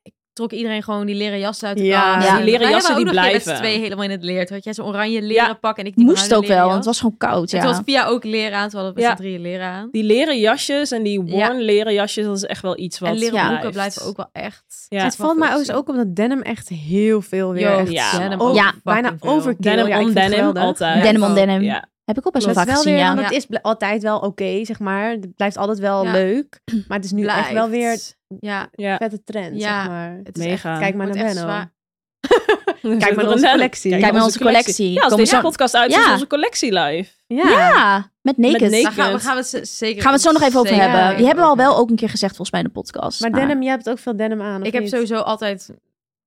Ik trok iedereen gewoon die leren jassen uit de Ja. kast. Ja. Die leren Wij jassen hebben ook die nog geen blijven. met z'n tweeën helemaal in het leer. Toen had jij zo'n oranje leren Ja. pak en ik die moest bruine ook wel, leren want het jas. was gewoon koud. En Toen Ja. was Pia ook leren aan, terwijl we met Ja. z'n drieën leren aan. Die leren jasjes en die worn Ja. leren jasjes, dat is echt wel iets wat en leren blijft. broeken blijven ook wel echt. Ja. het valt mij overigens ook op dat denim echt heel veel weer. Yo, echt ja, denim man. ook Ja. fucking bijna veel. overkill. Denim ja, ik on vind het denim geweldig. altijd. Denim on Ja. denim. Ja. Heb ik ook best wel Klopt. vaak Het is wel gezien, weer, ja. want het is bl- altijd wel oké, zeg maar. Het blijft altijd wel Ja. leuk. Maar het is nu echt wel weer Blijft. Ja, Ja. vette trend, Ja. zeg maar. het Mega. echt- Kijk maar wordt naar echt Benno. zwaar. Kijk maar naar naar onze onze collectie. collectie. Kijk maar onze collectie. Ja, als Kom deze zo- podcast uit Ja. is, onze collectie live. Ja. Ja, met naked. naked. Daar gaan we, Weekend. gaan we, het z- zeker, Gaan we het zo nog even over zeker hebben. Die over hebben we al wel ook een keer gezegd volgens mij in de podcast. Maar Nou, denim, jij hebt ook veel denim aan, of Ik heb niet? sowieso altijd...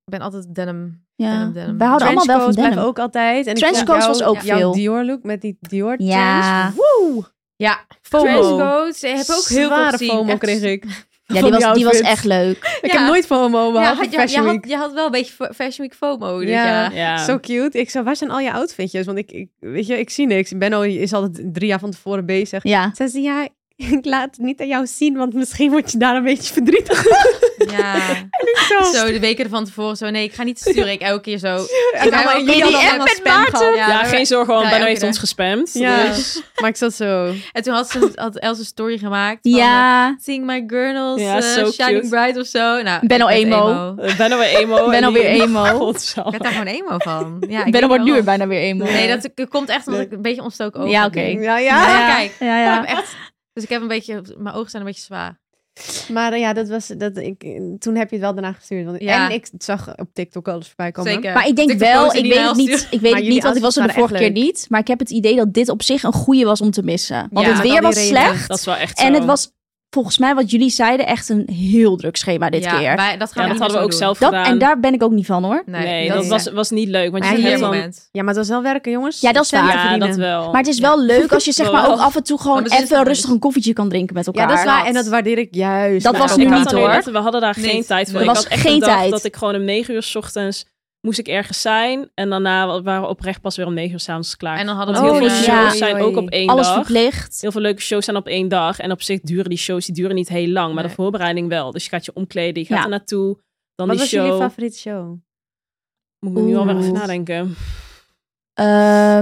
Ik ben altijd denim. ja. denim, denim. Wij houden allemaal wel van Trenchcoats denim. blijven ook altijd. En ik vond Trenchcoats was jouw- ook Jouw veel. Dior look met die Dior jeans. Ja. Woe! Ja, FOMO. trenchcoats. Ik heb ook heel veel Oh. Zware gezien. FOMO Echt- kreeg ik. Ja, Van die was, die was outfits. echt leuk. Ik Ja. heb nooit FOMO, maar Ja, ja, had, je, je, Fashion Week. had, je had wel een beetje fo- Fashion Week FOMO. dus dit Ja. jaar. Ja. Zo cute. Ik zei, waar zijn al je outfitjes? Want ik, ik, weet je, ik zie niks. Benno is altijd drie jaar van tevoren bezig. Ja. Ze zei, ja, ik laat het niet aan jou zien, want misschien word je daar een beetje verdrietig ja. van. Zo de weken ervan tevoren zo, nee, ik ga niet sturen. Ik elke keer zo. En Ja, allemaal maar jullie allemaal app wat met spam Maarten. gehad. Ja, Ja, maar- geen zorgen, want Ja, Benno elke heeft dag. ons gespamd. Ja. Dus Maar ik zat zo. En toen had, ze, had Els een story gemaakt. Van, eh, Ja. Sing My Girls, Ja, eh, zo Shining cute. Bright of zo. Nou, Ben al ik werd emo. eh, Benno weer emo. Benno en die- weer emo. Ik Godsamme. werd daar gewoon emo van. Ja, ik Ik ben weet er wel nu weer waarom. bijna weer emo. Nee, dat, dat komt echt omdat ik een beetje ontstoken ogen Ja, heb oké. nu. Ja, ja. Nou Ja, Ja. Ah, kijk. Ja, Ik ja. heb echt, dus ik heb een beetje, mijn ogen zijn een beetje zwaar. Maar eh, ja, dat was, dat, ik, toen heb je het wel daarna gestuurd. Want, Ja. En ik zag op TikTok alles voorbij komen. Zeker. Dus Maar ik denk eh, TikTok wel, posten ik die weet naar het ons niet, sturen. ik weet Maar het niet, want ik was er de jullie vorige keer outfits niet. waren Maar ik heb het idee dat dit op zich een goeie was om te missen. Want het Ja, met al weer die was redenen. slecht. Dat is wel echt En zo. het was volgens mij wat jullie zeiden echt een heel druk schema dit Ja, keer. wij- dat gaan we Ja, niet dat hadden we meer ook zo doen. zelf Dat, gedaan. en daar ben ik ook niet van hoor. Nee, Nee, dat, dat is- was, was niet leuk. Want Maar je ja, zegt hier dan- moment. Ja, maar het was wel werken, jongens. Ja, dat is Centen waar. Ja, verdienen. dat wel. Maar het is wel leuk als je zeg maar Wel. ook af en toe gewoon Maar we zitten even thuis. rustig een koffietje kan drinken met elkaar. Ja, dat is waar. En dat waardeer ik juist. Dat Ja, was ook nu ik wel. had niet, alleen hoor. dat- we hadden daar Nee, geen tijd voor. er ik was had echt geen een dag tijd. dat ik gewoon om negen uur 's ochtends moest ik ergens zijn. En daarna waren we oprecht pas weer om negen uur s'avonds klaar. En dan hadden we Want Oh, heel veel ja. shows zijn ook op één Alles dag. verplicht. Heel veel leuke shows zijn op één dag. En op zich duren die shows die duren niet heel lang. Maar Nee. de voorbereiding wel. Dus je gaat je omkleden, je gaat Ja. er naartoe. Dan Wat die was show. jullie favoriete show? Moet ik nu alweer even Oeh. nadenken. Ehm,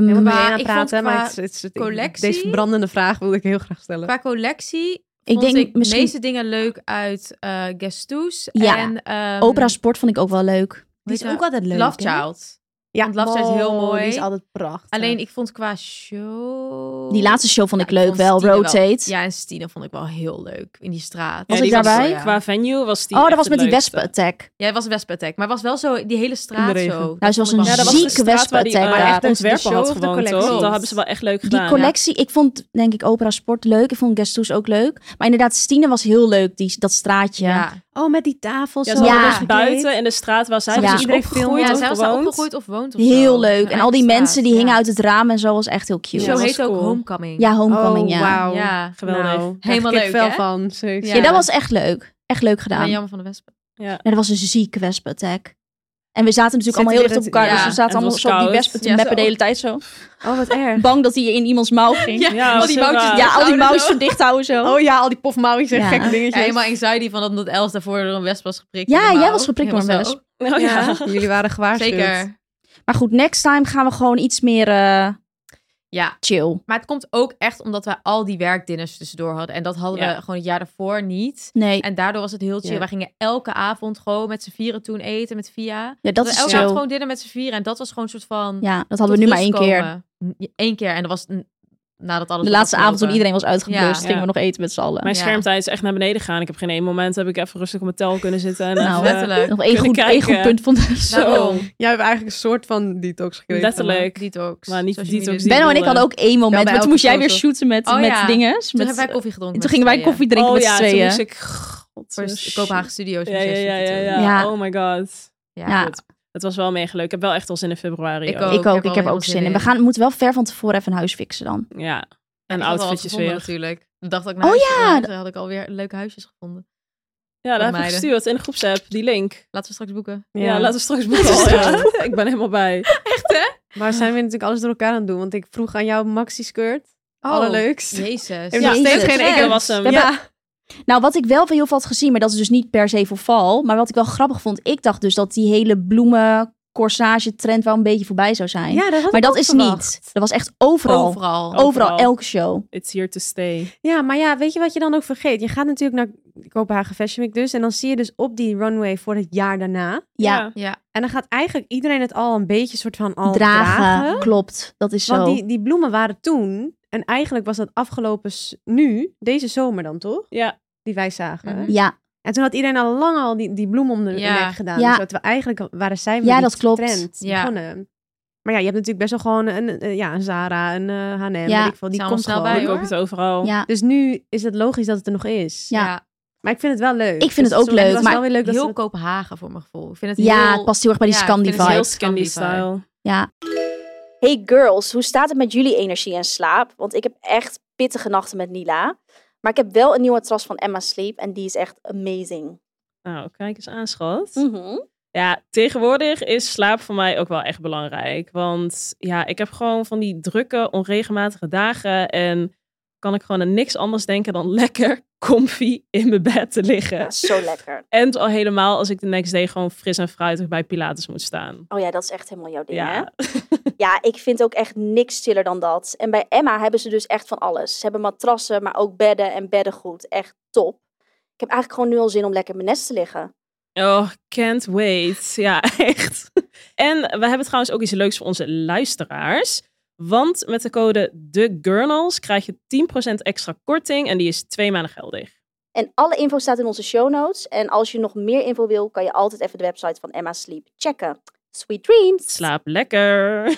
Ik Maar ben mee ik aan het vond praten, maar qua het, is- het, is- ik- collectie- deze brandende vraag wilde ik heel graag stellen. Qua collectie ik vond denk ik misschien de meeste dingen leuk uit eh Guestoes. Ja. En, ehm, opera sport vond ik ook wel leuk. hoe heet dat? altijd Love Child. Ja, Want Love Child is heel mooi. Die is altijd prachtig. Alleen ik vond qua show... Die laatste show vond ik Ja, leuk vond wel, Stine Rotate. Ja, en Stine vond ik wel heel leuk in die straat. Was Ja, ik die dus, eh, daarbij? Ja. Qua venue was die oh, dat echt was het met die leukste. wespenattack. Ja, het was een wespenattack. Maar het was wel zo die hele straat regen. zo. Nou, ze was een vond ik Ja, dat wel- was de zieke eh, straat waar die wespenattack maar daar. echt De ontwerper show had of de gewoon, toch? collectie? Dat hebben ze wel echt leuk gedaan. Die collectie, ik vond denk ik opera sport leuk. Ik vond Guest Who's ook leuk. Maar inderdaad, Stine was heel leuk, die, dat straatje. Ja. Oh, met die tafels. Ja, zo ze Ja. hadden alles dus gekleed. buiten in de straat waar zij Ja. dus is Iedereen filmt. opgegroeid Ja, of zij was daar gewoond. opgegroeid of woont of zo. Heel leuk. En Ja, al die in de mensen die straat, hingen ja. uit het raam en zo was echt heel cute. Ja, Zo was heet ook cool. Homecoming. Ja, Homecoming, Oh, ja. wauw. Ja. Geweldig. Nou, Helemaal krijg ik leuk, kippenvel hè? van. Zoiets. Ja. dat was echt leuk. Echt leuk gedaan. Ben Ja, jammer van de wespen. dat was een zieke wespenattack. En we zaten natuurlijk Zitten allemaal heel weer dicht op het- elkaar. ja. Dus we En zaten het allemaal was zo op die koud. wespen te Ja, meppen zo. de hele tijd zo. Oh, wat erg. Bang dat hij in iemands mouw ging. Ja, Ja, al die was heel moutjes raar. die- al die zouden mouwen zo. zo dicht houden zo. Oh ja, al die pofmouwtjes en Ja. gekke Ja, dingetjes. helemaal anxiety van dat, dat Els daarvoor door een wesp was geprikt. Ja, in de jij mouw. was geprikt door een Helemaal wesp. Oh ja. Jullie waren zo. gewaarschuwd. Zeker. Maar goed, next time gaan we gewoon iets meer... eh, Ja, Chill. maar het komt ook echt omdat wij al die werkdinners tussendoor hadden. En dat hadden Ja. we gewoon het jaar daarvoor niet. Nee, En daardoor was het heel chill. Ja. Wij gingen elke avond gewoon met z'n vieren toen eten met Via. ja, dat we is elke avond zo. gewoon dinner met z'n vieren. En dat was gewoon een soort van... Ja, dat hadden we nu maar één keer. Eén keer. En dat was n- nadat alles De was laatste avond toen afgelopen. iedereen was uitgeblust, Ja. gingen we nog eten met z'n allen. Mijn Ja. schermtijd is echt naar beneden gegaan. Ik heb geen één moment, heb ik even rustig op mijn tel kunnen zitten. En Nou, even- letterlijk. nog één goed, kunnen één goed kijken. punt van de Daarom. Jij hebt eigenlijk een soort van detox gekregen. eh, Letterlijk. Detox. dus Maar niet Social media detox. detox. Benno en ik hadden ook één moment, bij maar toen elke moest jij weer foto. shooten met, Oh met ja. dinges. Toen met, hebben wij koffie gedronken toen gingen wij koffie drinken oh met ja, z'n tweeën. toen moest ik... God, Voor zo Kopenhagen Studios. Ja, ja, ja, ja, ja. Ja. Oh my god. Ja, Ja. goed. Het was wel mega leuk. Ik heb wel echt al zin in februari. Ik ook. ook. ik ook, ik al heb heel ook zin veel zin in. We in. gaan, moeten wel ver van tevoren even een huis fixen dan. Ja. En En ik had al wat outfitjes gevonden, weer. natuurlijk. De dag dat ik Oh naar huis ja, ging, dat- toen had ik alweer leuke huisjes gevonden. Voor Ja, daar heb ik meiden. gestuurd in de groepsapp. Die link. Laten we straks boeken. Ja, laten we straks Laten we boeken. Ja. Ik ben helemaal bij. Maar zijn we natuurlijk alles door elkaar aan het doen? Want ik vroeg aan jou maxi skirt. Allerleukst. Jezus. Ik heb Ja, nog steeds jezus. geen Dat enkele. was hem. We Ja. hebben- Nou, wat ik wel van heel veel had gezien, maar dat is dus niet per se voor val. Maar wat ik wel grappig vond, ik dacht dus dat die hele bloemen corsage trend wel een beetje voorbij zou zijn. Ja, dat had maar ik dat ook is verwacht. niet. Dat was echt overal. Overal, Overal. Oh. Overal. elke show. It's here to stay. Ja, maar ja, weet je wat je dan ook vergeet? Je gaat natuurlijk naar Kopenhagen Fashion Week dus. En dan zie je dus op die runway voor het jaar daarna. Ja, Ja. En dan gaat eigenlijk iedereen het al een beetje soort van al dragen. dragen. Klopt, dat is zo. Want die, die bloemen waren toen. En eigenlijk was dat afgelopen s- nu, deze zomer dan toch? Ja. Die wij zagen. Mhm. Ja, En toen had iedereen al lang al die, die bloem om de Ja. nek gedaan. Ja. Dus dat we eigenlijk waren zij met Ja, die dat klopt. trend Ja. begonnen. Maar ja, je hebt natuurlijk best wel gewoon een, eh, ja, een Zara, een eh, H&M, Ja. weet ik veel. Die Zijn allemaal komt gewoon. snel Ik bij, hoor. koop het overal. ja. Dus nu is het logisch dat het er nog is. Ja. Maar ik vind het wel leuk. Ik vind het ook sorry, leuk, was maar wel weer leuk dat heel ze dat- Kopenhagen voor mijn gevoel. Ik vind het ja, heel... het past heel erg bij die Ja, ik Scandi vind het vibe. heel Heel Scandi Scandi-vibe. style. Ja. Hey girls, hoe staat het met jullie energie en slaap? Want ik heb echt pittige nachten met Nila. Maar ik heb wel een nieuwe matras van Emma Sleep en die is echt amazing. Nou, kijk eens aan, schat. Mhm. Ja, tegenwoordig is slaap voor mij ook wel echt belangrijk. Want ja, ik heb gewoon van die drukke, onregelmatige dagen. En kan ik gewoon aan niks anders denken dan lekker comfy in mijn bed te liggen. Ja, zo lekker. En al helemaal als ik de next day gewoon fris en fruitig bij Pilates moet staan. Oh ja, dat is echt helemaal jouw ding, hè? Ja, Ja, ik vind ook echt niks stiller dan dat. En bij Emma hebben ze dus echt van alles. Ze hebben matrassen, maar ook bedden en beddengoed. Echt top. Ik heb eigenlijk gewoon nu al zin om lekker in mijn nest te liggen. oh, can't wait. Ja, echt. En we hebben trouwens ook iets leuks voor onze luisteraars. Want met de code TheGurnals krijg je 10% extra korting en die is twee maanden geldig. En alle info staat in onze show notes. En als je nog meer info wil, kan je altijd even de website van Emma Sleep checken. Sweet dreams! Slaap lekker.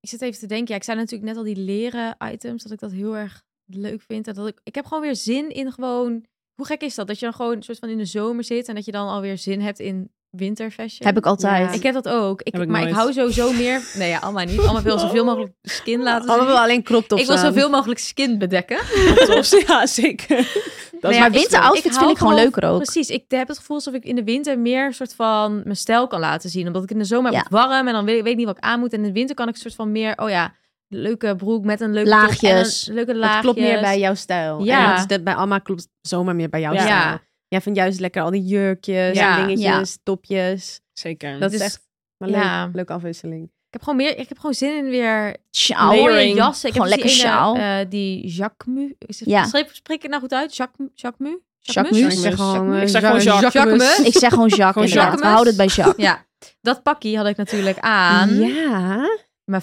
Ik zit even te denken. Ja, ik zei natuurlijk net al die leren items. Dat ik dat heel erg leuk vind. En dat ik, ik heb gewoon weer zin in gewoon... Hoe gek is dat? Dat je dan gewoon een soort van in de zomer zit. En dat je dan alweer zin hebt in winterfashion. Heb ik altijd. Ik heb dat ook. Ik, Heb ik maar ik nooit. hou sowieso meer... Nee, ja, allemaal niet. Allemaal wil zoveel mogelijk skin laten zien. Allemaal wel alleen crop tops ik wil aan. zoveel mogelijk skin bedekken. Tops, ja, zeker. Dat Nee, is Nou ja, mijn ik- verschil. winteroutfits hou vind ik gewoon leuker ook. Precies, ik heb het gevoel alsof ik in de winter meer een soort van mijn stijl kan laten zien. Omdat ik in de zomer Ja. heb het warm en dan weet, weet ik niet wat ik aan moet. En in de winter kan ik een soort van meer, oh ja, leuke broek met een leuke top en Laagjes. een leuke Het laagjes. klopt meer bij jouw stijl. Ja. En dat is dat bij Alma klopt zomaar meer bij jouw Ja. stijl. Ja. Jij vindt juist lekker al die jurkjes Ja. en dingetjes, topjes. Zeker. Dat Dus- is echt een leuk, ja. leuke afwisseling. Ik heb gewoon meer, ik heb gewoon zin in weer Sjaal. Layering. mooie jassen. Ik Gewoon heb dus die lekker ene, sjaal. eh, die Jacquemus. Is het, Ja. spreek, spreek ik het nou goed uit? Jacques, Jacquemus? Jacquemus. Ik zeg gewoon, eh, Ik zeg gewoon Ja- Jacques. Jacquemus. Ik zeg gewoon Jacques, Gewoon inderdaad. We Jacquemus. houden het bij Jacques. Ja, dat pakje had ik natuurlijk aan. Ja. Mijn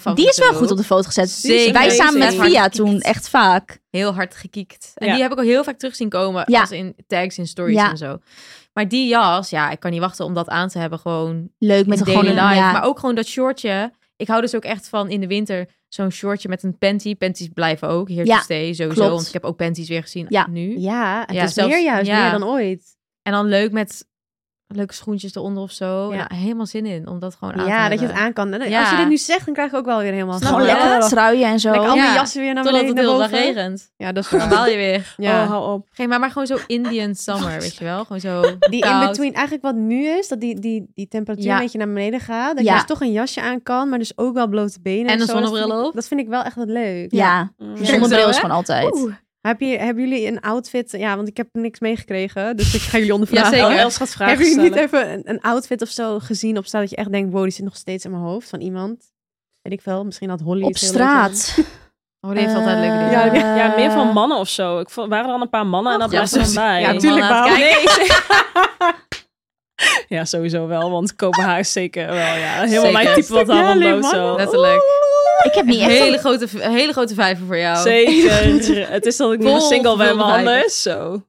Die is favoriete wel goed look. op de foto gezet. Zeker. Wij samen met Zeker. Via toen echt vaak. heel hard gekiekt. En Ja. die heb ik ook heel vaak terug zien komen Ja. als in tags, in stories Ja. en zo. Maar die jas, ja, ik kan niet wachten om dat aan te hebben gewoon Leuk met in een gewoon daily een life. ja. Maar ook gewoon dat shortje. Ik hou dus ook echt van in de winter zo'n shortje met een panty. Panties blijven ook, hier Ja, to stay, sowieso. klopt. Want ik heb ook panties weer gezien Ja. nu. Ja, het Ja, is zelfs- meer juist, ja. meer dan ooit. En dan leuk met leuke schoentjes eronder of zo. Ja. Nou, helemaal zin in om dat gewoon aan te Ja, dat je het hebben. aan kan. En Ja. Als je dit nu zegt, dan krijg ik ook wel weer helemaal... Snap gewoon je? Ja. lekker met truien en zo. Oh. Lekker al mijn Ja. jassen weer naar Totdat beneden, het heel naar dag boven. regent. Ja, dat is Dan baal je weer. Ja. Oh, hou op. Geen, maar, maar gewoon zo Indian summer, weet je wel. Gewoon zo Die koud. in-between, eigenlijk wat nu is, dat die, die, die temperatuur Ja. een beetje naar beneden gaat. Dat Ja. je dus toch een jasje aan kan, maar dus ook wel blote benen. En een zo. Dat zonnebril vind ik- op. Dat vind ik wel echt wat leuk. ja, Mm. ja. zonnebril is Zo, hè? gewoon altijd. Oeh. Heb je, hebben jullie een outfit? Ja, want ik heb niks meegekregen, dus ik ga jullie Ja, ondervragen. Oh, zeker. Els gaat vragen Hebben jullie niet stellen. even een, een outfit of zo gezien op staan dat je echt denkt, wow, die zit nog steeds in mijn hoofd van iemand? weet ik veel, misschien had Holly Op het heel leuk gedaan. straat. Oh, die heeft altijd leuke dingen. Ja, Eh, ja, meer van mannen of zo. Ik vond, waren er al een paar mannen en dat Ja, blijft er precies. dan bij. Ja, tuurlijk Mannen aan het Nee. ja, sowieso wel, want Kopenhagen is zeker wel, ja. Helemaal mijn Zeker. type wat Ja, daar alleen loopt zo. kijken. Letterlijk. Ik heb niet echt... Hele grote, hele grote vijver voor jou. Zeker. Het is dat ik nu een Vol single ben, maar gevulde anders. Zo.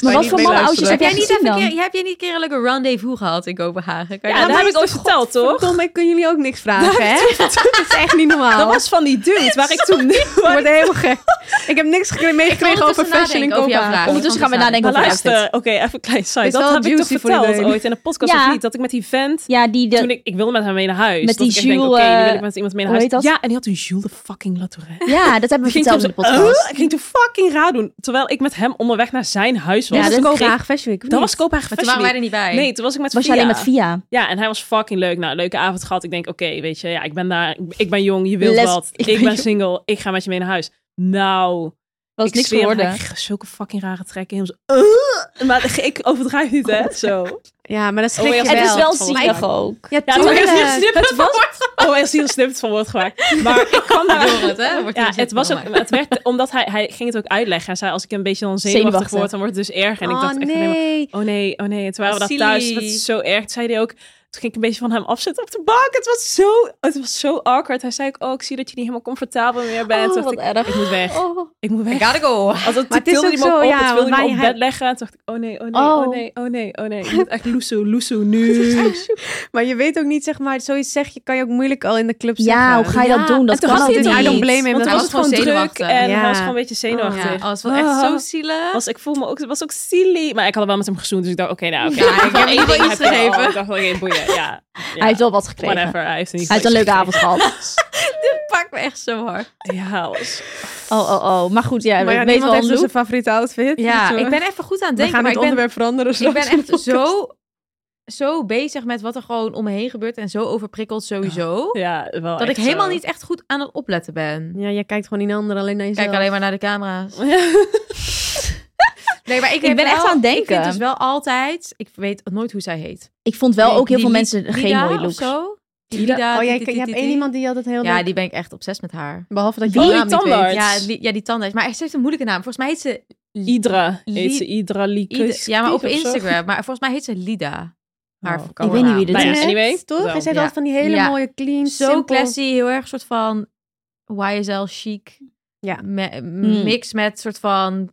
Maar wat voor mee mannenoudjes heb jij luisteren. Heb jij, niet gezien even een dan? keer, heb jij niet een keer een leuke rendezvous gehad in Kopenhagen? Kan je Ja, dat dat heb ik ooit verteld, toch? Verdomme, ik kan jullie ook niks vragen, hè? Dat is echt niet normaal. Oh. Dat was van die dude waar ik toen... Ik word helemaal gek. Ik heb niks gek- meegekregen over ondertussen fashion in nadenken over jouw Kopenhagen. vraag. Ondertussen gaan we Ondertussen nadenken Maar over luister, outfit. oké, even een klein side. Is Dat wel heb ik toch juicy voor verteld iedereen. ooit in een podcast Ja. of niet? Dat ik met die vent... Ja, die... De... Toen ik, ik wilde met haar mee naar huis. Met dat die ik echt denk, Jules, oké, nu wil eh, ik met iemand mee naar hoe huis. heet dat? Ja, en die had een Jules de fucking Latourette. Ja, dat hebben we Ging toen verteld zo, in de podcast. "Oh," ik ging toen fucking raar doen. Terwijl ik met hem onderweg naar zijn huis was. Ja, Dat dat is is Kopenhagen Fashion Week. of dat niet? was Kopenhagen Maar toen waren wij Fashion er Week. niet bij. Nee, toen was ik met Was je Via. alleen met Via? Ja, en hij was fucking leuk. Nou, leuke avond gehad. Ik denk, oké, weet je, ja, ik ben daar. ik- Ik ben jong, je wilt Les- wat. ik Ik, ben ben jong. single, ik ga met je mee naar huis. Nou, was ik zweer, Hij kreeg zulke fucking rare trekken. Helemaal zo, "Ugh." maar ik overdrijf niet, hè? Zo. Ja, maar dat is Oh, gek ja, geweld. Het is wel volgens mij. zielig ook. Ja, Ja, toen tuurlijk. heeft hij een snippet van Oh, hij heeft hier een snippet van woord gemaakt. Maar ik kwam daar Door het, hè? Wordt Ja, hier het, was zitten, een, het werd, omdat hij, hij ging het ook uitleggen. Hij zei, als ik een beetje dan zenuwachtig Zenuwachtig. word, dan wordt het dus erg. En ik dacht oh, echt alleen maar, nee. oh nee, oh nee. En toen waren we Oh, dat thuis, silly. dat is zo erg. Toen zei hij ook, toen ging ik een beetje van hem afzetten op de bank. Het was zo, het was zo awkward. Hij zei ook, oh, ik zie dat je niet helemaal comfortabel meer bent. Oh, Toen dacht wat ik, erg. ik moet weg. Oh. Ik moet weg. I gotta go. Alsof Maar maar het is tilde ook hij me zo, op, ja, ja, het wilde hij me wij- op hij- bed leggen. En toen dacht ik, oh nee, oh nee, Oh. oh nee, oh nee, oh nee. Ik moet echt loesoe, loesoe nu. Maar je weet ook niet, zeg maar, zoiets zeg je, kan je ook moeilijk al in de club Ja, zeggen. hoe ga je dat Ja, doen? Dat en toen kan had hij ook het niet. I don't blame him. Want Dat toen hij was was was het gewoon gewoon druk zenuwachtig. en Ja. hij was gewoon een beetje zenuwachtig. Ja, oh, het was echt zo zielig. was, ik voel me ook, het was ook silly. Maar ik had wel met hem gezoend, dus ik dacht, oké, nou, oké. Ja, ik heb in ieder geval iets Heb je al. gegeven. Ik dacht wel geen boeien, ja. ja. Hij heeft wel wat gekregen. Whatever, hij heeft niet Hij heeft een leuke avond gehad. Dit pakt me echt zo hard. Ja, was- Oh, oh, oh. Maar goed, ja, Maar ja, ik weet niemand wel heeft een dus look. zijn favoriete outfit. Ja, Dus, ik eh, ben even goed aan het We denken, gaan maar het ik ben, onderwerp veranderen. ik ben straks. echt zo, zo bezig met wat er gewoon om me heen gebeurt en zo overprikkeld sowieso, ja, wel dat ik echt helemaal zo. niet echt goed aan het opletten ben. Ja, jij kijkt gewoon niet naar anderen, alleen naar Ik jezelf. kijk alleen maar naar de camera's. Nee, maar ik, Ik heb ben echt wel- aan het Ik vind denken. dus wel altijd, ik weet nooit hoe zij heet. Ik vond wel Die- ook heel die veel Li- mensen geen Lida mooie of looks. zo? Die Oh, Lida, jij, die- je die- hebt die- één die- iemand die altijd heel Ja, leuk- die ben ik echt obsess met haar. Behalve dat je Wie? haar naam niet weet. Tandarts? Ja, die, ja, die tandarts. Maar echt, ze heeft een moeilijke naam. Volgens mij heet ze... Idra, heet Li- ze Idra Ida- Likus. ja, maar op of zo. Instagram. Maar volgens mij heet ze Lida. Maar Oh, kan ik weet wel. niet wie dit Nou ja, is. anyway, Toch? zo. Hij zei Ja. altijd van die hele Ja. mooie clean, Zo simpel- classy, heel erg soort van YSL chic. Ja. Me- Mm. Mix met soort van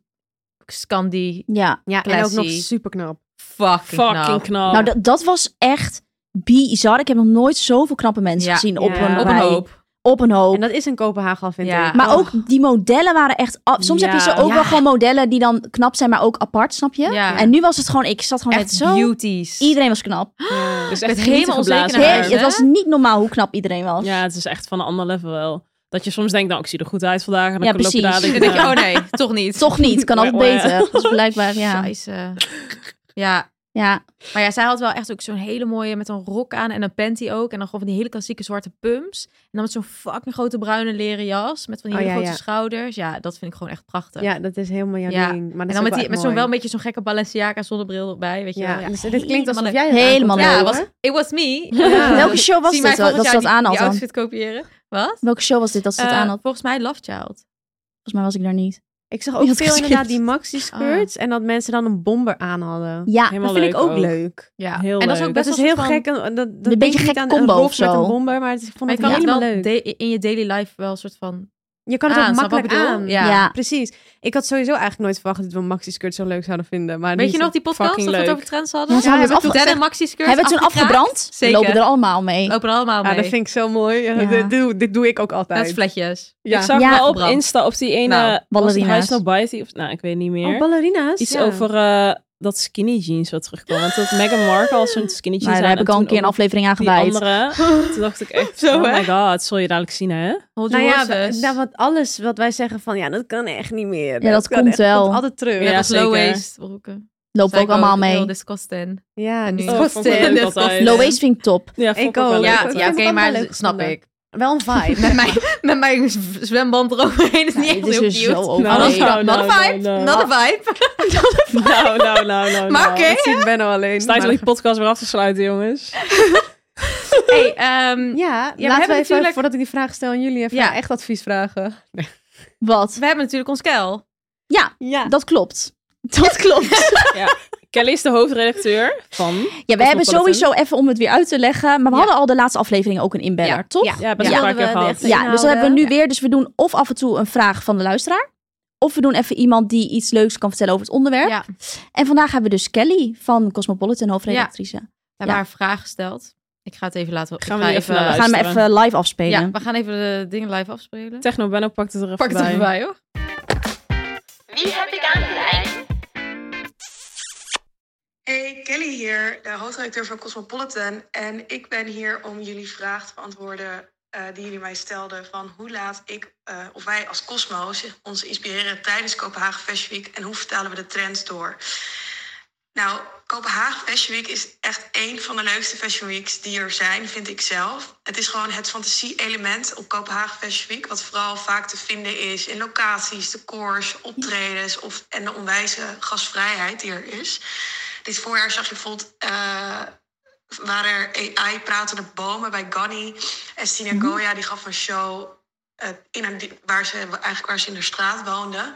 Scandi. Ja. Ja, en ook nog classy. super knap. Fucking, Fucking knap. knap. Nou, dat, dat was echt bizar. Ik heb nog nooit zoveel knappe mensen Ja. gezien op, Ja. een Op een rij. hoop. Op een hoop. En dat is in Kopenhagen al, vind Ja. ik. Maar Oh. ook die modellen waren echt... af- Soms heb je Ja. ze ook Ja. wel gewoon modellen die dan knap zijn, maar ook apart, snap je? Ja. En nu was het gewoon... Ik zat gewoon net Echt zo... beauties. Iedereen was knap. Dus Ik echt ben helemaal genieten onzeker geblazen. naar Heel- haar, het hè? was niet normaal hoe knap iedereen was. Ja, het is echt van een ander level wel. Dat je soms denkt, nou, ik zie er goed uit vandaag. En dan Ja, loop je precies. daar, denk Dan je, denk je, nou, oh nee, toch niet. Toch niet, kan Oh, altijd Oeh, oeh. beter. Dus blijkbaar, ja. Scheisse. Ja, ja. maar ja, zij had wel echt ook zo'n hele mooie met een rok aan en een panty ook. En dan gewoon van die hele klassieke zwarte pumps. En dan met zo'n fucking grote bruine leren jas. Met van die Oh, hele ja, grote ja. schouders. Ja, dat vind ik gewoon echt prachtig. Ja, dat is helemaal jouw Ja. ding. Maar en dan dat is met, ook die, met echt zo'n mooi. wel een beetje zo'n gekke Balenciaga zonnebril erbij. Weet je Ja, wel. Ja, dus dit klinkt alsof jij het Helemaal aankomt. leuk. Ja, hoor. was, it was me. Ja. Welke show was Zie dit mij dat volgend ze jaar dat die- aan die had dan? outfit kopiëren. Wat? Welke show was dit dat ze dat Eh, aan had? Volgens mij Love Child. Volgens mij was ik daar niet. Ik zag Je ook had veel geskipt. inderdaad die Ah. maxi skirts en dat mensen dan een bomber aan hadden. Ja, helemaal Dat vind ik leuk ook, leuk. Ja. Heel en dat is ook leuk. best Dat is wel heel soort van- gek. en Dat, dat beetje denk je gek niet aan een combo of rof met zo. een bomber, maar het, ik vond Maar het je kan het helemaal wel leuk. da- in je daily life wel een soort van... je kan het aan, ook snap wat ik makkelijk bedoel? aan. Ja. ja. Precies. Ik had sowieso eigenlijk nooit verwacht dat we maxi skirts zo leuk zouden vinden. Maar Weet je nog die podcast dat fucking we het leuk. over trends hadden? Ja, ze hadden het toen afge- Dan en Maxi skirts Hebben we het toen afgebrand? Zeker. Lopen er allemaal mee. Lopen er allemaal Ja, mee. Ah, dat vind ik zo mooi. Ja, Ja. Dit, doe, dit doe ik ook altijd. Net flatjes. Ik zag Ja, wel op verbrand. Insta op die ene... Nou, was het ballerina's. High Snow Bite, of, nou, ik weet niet meer. Oh, ballerina's. Iets Ja. over eh, dat skinny jeans wat terugkwam. Want dat Meghan Markle als zo'n skinny jeans Maar daar aan heb ik en al een toen keer een ook aflevering aan die gewijd. andere. Toen dacht ik echt, Zo, oh hè? my god, zul je dadelijk zien hè? Hold Nou your ja, horses. we- nou, want alles wat wij zeggen van ja, dat kan echt niet meer. Ja, dat kan komt echt- wel. komt altijd terug. Ja, ja, zeker. low waist broeken. Lopen Zij ook allemaal mee. Heel disgusting. Ja, En die nu- kost- vond ik wel en leuk dat altijd. kost- Low waist vind ik top. Ja, vond Ik wel ook. leuk. Ja, ik ja vind oké, het maar allemaal leuk snap gevonden. ik. wel een vibe. Met mijn, met mijn z- zwemband eroverheen is niet Nee, echt dit is heel dus zo cute. over. Not Nee. a- Not Nou, a nou, vibe. nou, Not a vibe. Nou, nou, nou, nou. Maar nou. oké. Ik zie Benno alleen. Het is tijd om maar- die podcast weer af te sluiten, jongens. Hey, ehm, Ja, we hebben natuurlijk- voordat ik die vraag stel aan jullie, even Ja. echt advies vragen. Wat? we hebben natuurlijk ons kel. Ja, Ja. dat klopt. Dat klopt. Kelly is de hoofdredacteur van... Ja, we hebben Cosmopolitan. sowieso even om het weer uit te leggen. Maar we Ja. hadden al de laatste aflevering ook een inbeller, toch? Ja, Ja, best Ja. wel een paar keer Wilden we gehad. de dus dat hebben we nu Ja. weer. Dus we doen of af en toe een vraag van de luisteraar. Of we doen even iemand die iets leuks kan vertellen over het onderwerp. Ja. En vandaag hebben we dus Kelly van Cosmopolitan, hoofdredactrice. We hebben Ja. haar vraag gesteld. Ik ga het even laten... Gaan ik we ga die even naar We gaan hem Luisteren. even live afspelen. Ja, we gaan even de dingen live afspelen. Techno Benno pakt het er even Pak het bij. even bij, hoor. Wie heb ik aan de lijn? Hey, Kelly hier, de hoofdredacteur van Cosmopolitan. En ik ben hier om jullie vraag te beantwoorden eh, die jullie mij stelden... van hoe laat ik, eh, of wij als Cosmo zich ons inspireren tijdens Kopenhagen Fashion Week... en hoe vertalen we de trends door? Nou, Kopenhagen Fashion Week is echt een van de leukste Fashion Weeks die er zijn, vind ik zelf. Het is gewoon het fantasie-element op Kopenhagen Fashion Week, wat vooral vaak te vinden is in locaties, decors, optredens of, en de onwijze gastvrijheid die er is. Dit voorjaar zag je bijvoorbeeld. eh, waren er AI-pratende bomen bij Ganni. En Stina Goya die gaf een show eh, in een, di- waar, ze, eigenlijk waar ze in de straat woonde.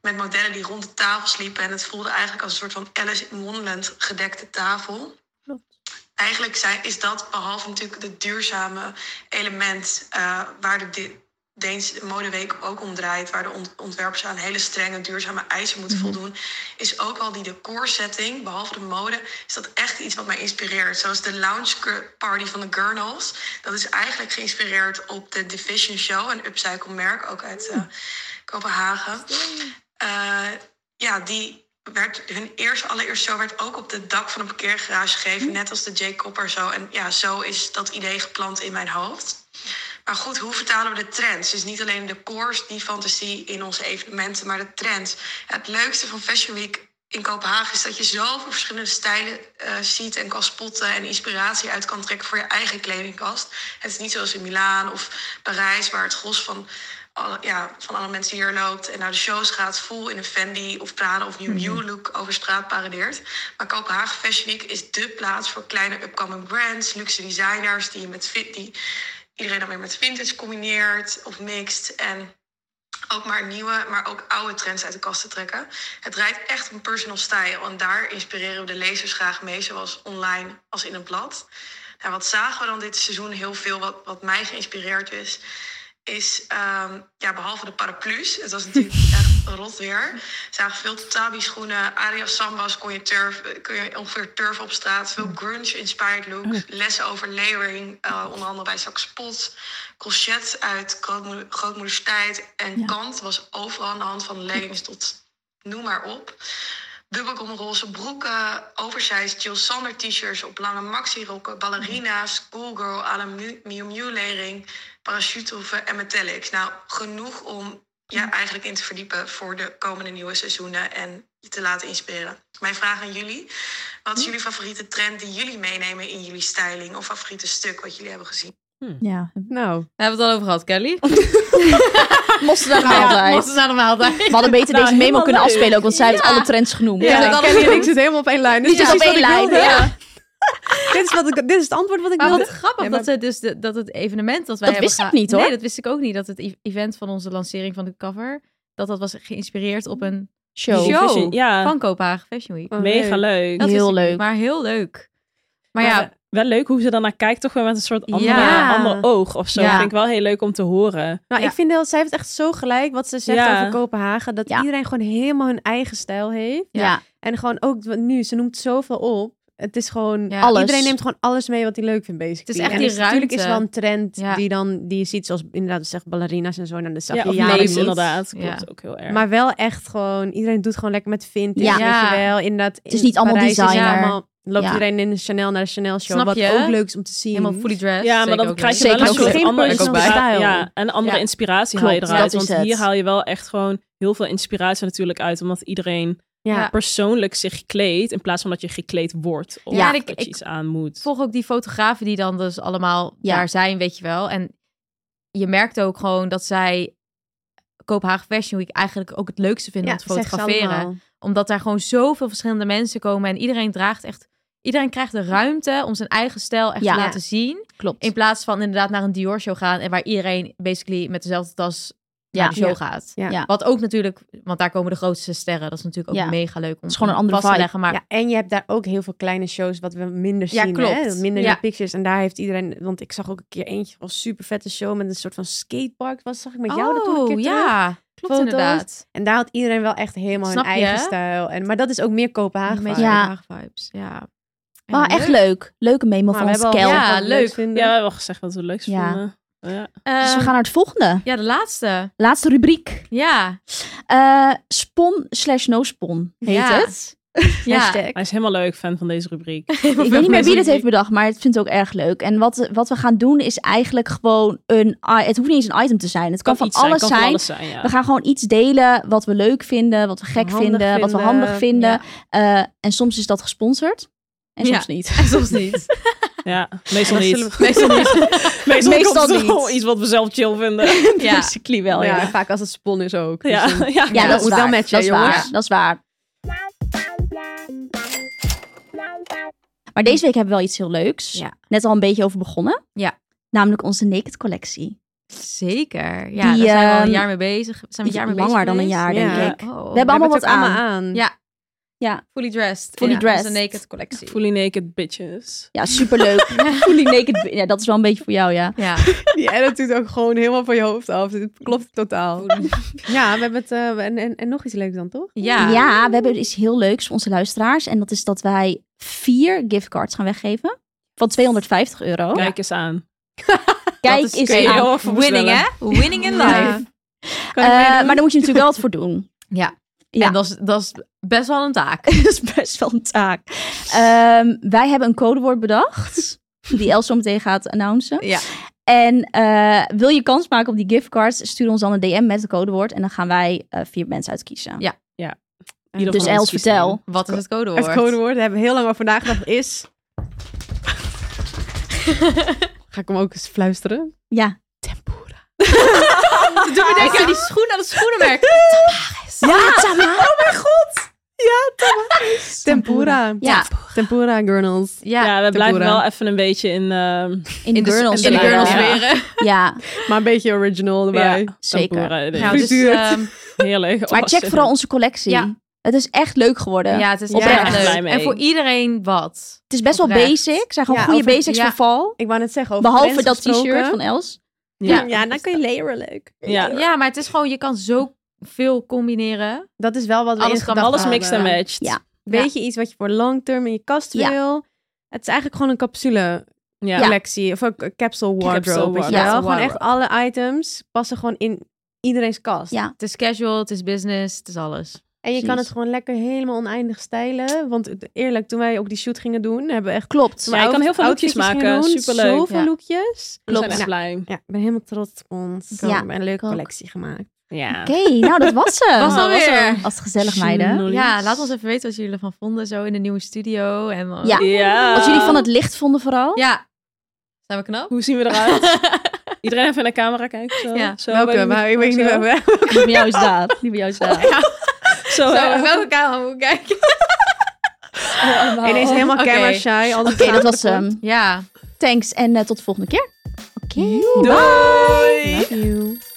Met modellen die rond de tafel sliepen. En het voelde eigenlijk als een soort van Alice in Wonderland gedekte tafel. Eigenlijk zijn, is dat, behalve natuurlijk het duurzame element... eh, waar de De- Deense Modeweek ook om draait... waar de ont- ontwerpers aan hele strenge duurzame eisen moeten voldoen... is ook al die decorsetting, behalve de mode... is dat echt iets wat mij inspireert. Zoals de lounge cur- party van de Gurnals. Dat is eigenlijk geïnspireerd op de Division Show... een upcycle merk, ook uit eh, Kopenhagen. Eh, ja, die werd hun eerste, allereerste show werd ook op het dak van een parkeergarage gegeven, net als de J. Copper zo. En ja, zo is dat idee geplant in mijn hoofd. Maar goed, hoe vertalen we de trends? Dus niet alleen de koers, die fantasie in onze evenementen, maar de trends. Ja, het leukste van Fashion Week in Kopenhagen is dat je zoveel verschillende stijlen eh, ziet en kan spotten en inspiratie uit kan trekken voor je eigen kledingkast. Het is niet zoals in Milaan of Parijs, waar het gros van alle, ja, van alle mensen die hier loopt en naar de shows gaat, vol in een Fendi of Prada of New Miu look over straat paradeert. Maar Kopenhagen Fashion Week is dé plaats voor kleine upcoming brands, luxe designers die, je met, vi- die iedereen dan weer met vintage combineert of mixt. En ook maar nieuwe, maar ook oude trends uit de kast te trekken. Het rijdt echt om personal style. En daar inspireren we de lezers graag mee, zowel online als in een blad. Nou, wat zagen we dan dit seizoen heel veel, wat, wat mij geïnspireerd is, is ehm, ja, behalve de paraplu's, het was natuurlijk echt rot weer, zagen veel Tabi schoenen, Arias Sambas, kon je, turf, eh, kon je ongeveer turf op straat, veel grunge-inspired looks, lessen over layering, eh, onder andere bij Zak Spot, crochet uit grootmoeder, grootmoeders tijd en kant was overal aan de hand van leggings tot noem maar op. Dubbelkom roze broeken, oversized Jill Sander t-shirts op lange maxi-rokken, ballerina's, schoolgirl à la Miu Miu Miu lering, parachutehoeven en metallics. Nou, genoeg om je eigenlijk in te verdiepen voor de komende nieuwe seizoenen en je te laten inspireren. Mijn vraag aan jullie, wat is jullie favoriete trend die jullie meenemen in jullie styling of favoriete stuk wat jullie hebben gezien? Ja. Nou, Daar hebben we het al over gehad, Kelly. Moesten daar Ja, altijd. moesten naar de maaltijd. We hadden beter Nou, deze memo helemaal kunnen leuk. afspelen ook, want zij heeft Ja. alle trends genoemd. Ja, ja, dat Kelly hadden en we- ik zitten helemaal op één lijn. dus Dit, Niet is op precies één wat ik lijn. eh, wilde. Ja. dit, is wat ik, dit is het antwoord wat ik Maar wilde. wat grappig Ja, maar- dat, ze dus de, dat het evenement dat wij Dat hebben wist ik geha- niet, hoor. Nee, dat wist ik ook niet. Dat het e- event van onze lancering van de cover, dat dat was geïnspireerd op een Show. Show. Vision, ja, van Kopenhagen Fashion Week. Oh, mega leuk. leuk. Dat Heel wist ik niet, leuk. Maar heel leuk. Maar ja, Wel leuk hoe ze dan naar kijkt, toch weer met een soort andere, Ja. ander oog of zo. Ja. Vind ik wel heel leuk om te horen. Nou, Ja. ik vind dat zij heeft echt zo gelijk wat ze zegt Ja. over Kopenhagen. Dat Ja. iedereen gewoon helemaal hun eigen stijl heeft. Ja. En gewoon ook wat nu, ze noemt zoveel op. Het is gewoon, Ja. Alles. iedereen neemt gewoon alles mee wat hij leuk vindt, basically. Het is echt en die dus natuurlijk is ruimte. wel een trend Ja. die, dan, die je ziet, zoals inderdaad, zegt ballerina's en zo. Nou, dat zag Ja, je of jaren lees niet. inderdaad. Ja. Klopt ook heel erg. Maar wel echt gewoon, iedereen doet gewoon lekker met vintage, Ja. weet je wel. Inderdaad, is niet allemaal designer. loopt Ja. iedereen in de Chanel naar de Chanel show, Snap wat je? ook leuk is om te zien. helemaal fully dressed. ja, maar zeker dan ook krijg je leuk. Zeker wel een ook soort leuk. andere Geen personal inspiratie. style. Ja, en andere Ja. inspiratie haal je Klopt, eruit. dat is Want hier het. haal je wel echt gewoon heel veel inspiratie natuurlijk uit. Omdat iedereen Ja. persoonlijk zich kleedt. In plaats van dat je gekleed wordt. Of Ja, en dat ik- je ik iets aan moet. Ik volg ook die fotografen die dan dus allemaal Ja. daar zijn, weet je wel. En je merkt ook gewoon dat zij Kopenhagen Fashion Week eigenlijk ook het leukste vinden om te zegt ze fotograferen. allemaal. Omdat daar gewoon zoveel verschillende mensen komen en iedereen draagt echt Iedereen krijgt de ruimte om zijn eigen stijl echt Ja. te laten zien. Klopt. In plaats van inderdaad naar een Dior show gaan en waar iedereen basically met dezelfde tas naar de show gaat. Ja. Ja. Wat ook natuurlijk, want daar komen de grootste sterren. Dat is natuurlijk ook Ja. mega leuk om is gewoon een andere vast te vibe. leggen. Maar ja, en je hebt daar ook heel veel kleine shows wat we minder Ja, zien. Hè? klopt. Minder Ja. in de pictures. En daar heeft iedereen... Want ik zag ook een keer eentje van een super vette show met een soort van skatepark. Wat zag ik met jou dat toen een Oh, keer terug? ja, klopt Foto's. inderdaad. En daar had iedereen wel echt helemaal Snap je? hun eigen stijl. En, maar dat is ook meer Kopenhagen. Een beetje vibe. Ja. Haag vibes. Ja. Maar En echt leuk. Leuke memo Maar van we ons hebben al Kel. ja, wat we leuk. vinden. Ja, we hebben al gezegd wat we het leukst Ja. vonden. Oh Ja. Ehm, Dus we gaan naar het volgende. Ja, de laatste. Laatste rubriek. Ja. Eh spon slash no spon heet Ja. het. Ja. Hij is helemaal leuk, fan van deze rubriek. Ik weet niet meer wie dit heeft bedacht, maar het vindt ook erg leuk. En wat, wat we gaan doen is eigenlijk gewoon een... Het hoeft niet eens een item te zijn. Het kan, iets van alles kan zijn. van alles zijn, ja. We gaan gewoon iets delen wat we leuk vinden, wat we gek Handig vinden, wat we vinden, handig vinden. ja. Eh, en soms is dat gesponsord. En soms Ja. niet. En soms niet. Ja, meestal niet. zullen Meestal niet. meestal Meestal komt er niet. wel iets wat we zelf chill vinden. Ja. Basically wel, ja. en vaak als het spon is ook. Dus Ja, dan- ja, ja, Ja, dat, is moet wel waar. matchen, dat is jongens. waar. Dat is waar. Maar deze week hebben we wel iets heel leuks. Ja. Net al een beetje over begonnen. Ja. Namelijk onze Naked collectie. Zeker. Ja, Die, daar zijn we al een ehm, jaar mee bezig. Zijn we Iets een jaar mee langer bezig dan een jaar, denk Ja. ik. geweest? Oh. We hebben allemaal het wat ook aan. aan. Ja. Ja. Fully dressed. Fully Ja, dressed. Onze naked collectie. Fully naked bitches. Ja, superleuk. Fully naked. Ja, dat is wel een beetje voor jou, ja. Ja. Die edit doet ook gewoon helemaal van je hoofd af. Dit klopt totaal. Ja, we hebben het... eh, en, en, en nog iets leuks dan, toch? Ja. Ja, we hebben dus iets heel leuks voor onze luisteraars. En dat is dat wij vier giftcards gaan weggeven. Van 250 euro. Kijk eens aan. Kijk Dat is eens kun je aan. heel erg voor Winning, hè? Winning in life. Eh, maar dan moet je natuurlijk wel wat voor doen. Ja. Ja. En dat is, dat is best wel een taak. dat is best wel een taak. Ehm, wij hebben een codewoord bedacht. Die Els zo meteen gaat announcen. Ja. En eh, wil je kans maken op die giftcards? Stuur ons dan een DM met het codewoord. En dan gaan wij eh, vier mensen uitkiezen. Ja. Ieder Dus van ons Els, kiest vertel. één. Wat is het codewoord? Het codewoord, daar hebben we heel lang over nagedacht, is... Ga ik hem ook eens fluisteren? Ja. Toen bedenk je die schoen aan het schoenenmerk. Ja, Tamara. Tempura. Ja, Tempura gurnals. Ja. Ja, we blijven Tabora. wel even een beetje in... ehm in, In de, Gurnals. in de sfeer. gurnals Ja. leren. Ja, Maar een beetje original erbij. ja, Zeker. Tabora, nee. Nou, dus, Frituur. ehm, Heerlijk. maar Oh, check zin. vooral onze collectie. Ja. Het is echt leuk geworden. ja, het is Oprecht echt blij leuk. mee. En voor iedereen wat. Het is best wel Oprecht. basic. Zijn gewoon Ja, goede over- basics ja. voor val. Ik wou net zeggen, over Behalve trends dat t-shirt gesproken. van Els. Ja. Ja, dan kun je layeren leuk. Ja. Ja, maar het is gewoon, je kan zo veel combineren. Dat is wel wat we Alles in kan, gedachten Alles mixed en hadden. matched. Ja. Weet je iets wat je voor long term in je kast Ja. wil? Het is eigenlijk gewoon een capsule Ja. collectie of een c- capsule wardrobe. Capsule weet je wardrobe. wel? Ja. Gewoon echt alle items passen gewoon in iedereen's kast. Ja. Het is casual, het is business, het is alles. En je kan Precies. het gewoon lekker helemaal oneindig stijlen. Want het- eerlijk, toen wij ook die shoot gingen doen, hebben we echt Klopt. Ja, je kan heel veel outfitjes lookjes gingen maken. doen, Superleuk. Zoveel Ja. lookjes. We zijn echt Ja. blij. Ja, ik ben helemaal trots op ons. We Ja, hebben een leuke ook. collectie gemaakt. Ja. Oké, nou dat was hem. Was alweer. Was het gezellig, meiden. Ja, laat ons even weten wat jullie ervan vonden zo in de nieuwe studio. En, eh, Ja. Ja. Wat jullie van het licht vonden vooral. Ja. Zijn we knap? Hoe zien we eruit? Iedereen even naar de camera kijken. Zo. Ja, zo, bij Welke, die maar ik weet microfoon, niet zo. waar Die bij jou is daar. Die bij jou is daar. Zo, Zo, eh, eh, ja. welke kamer moet ik kijken? we Ineens Oh, helemaal Oké. camera shy. Oké, Oké, dat was ehm, hem. Ja. Thanks en eh, tot de volgende keer. Oké. Doei! Love you.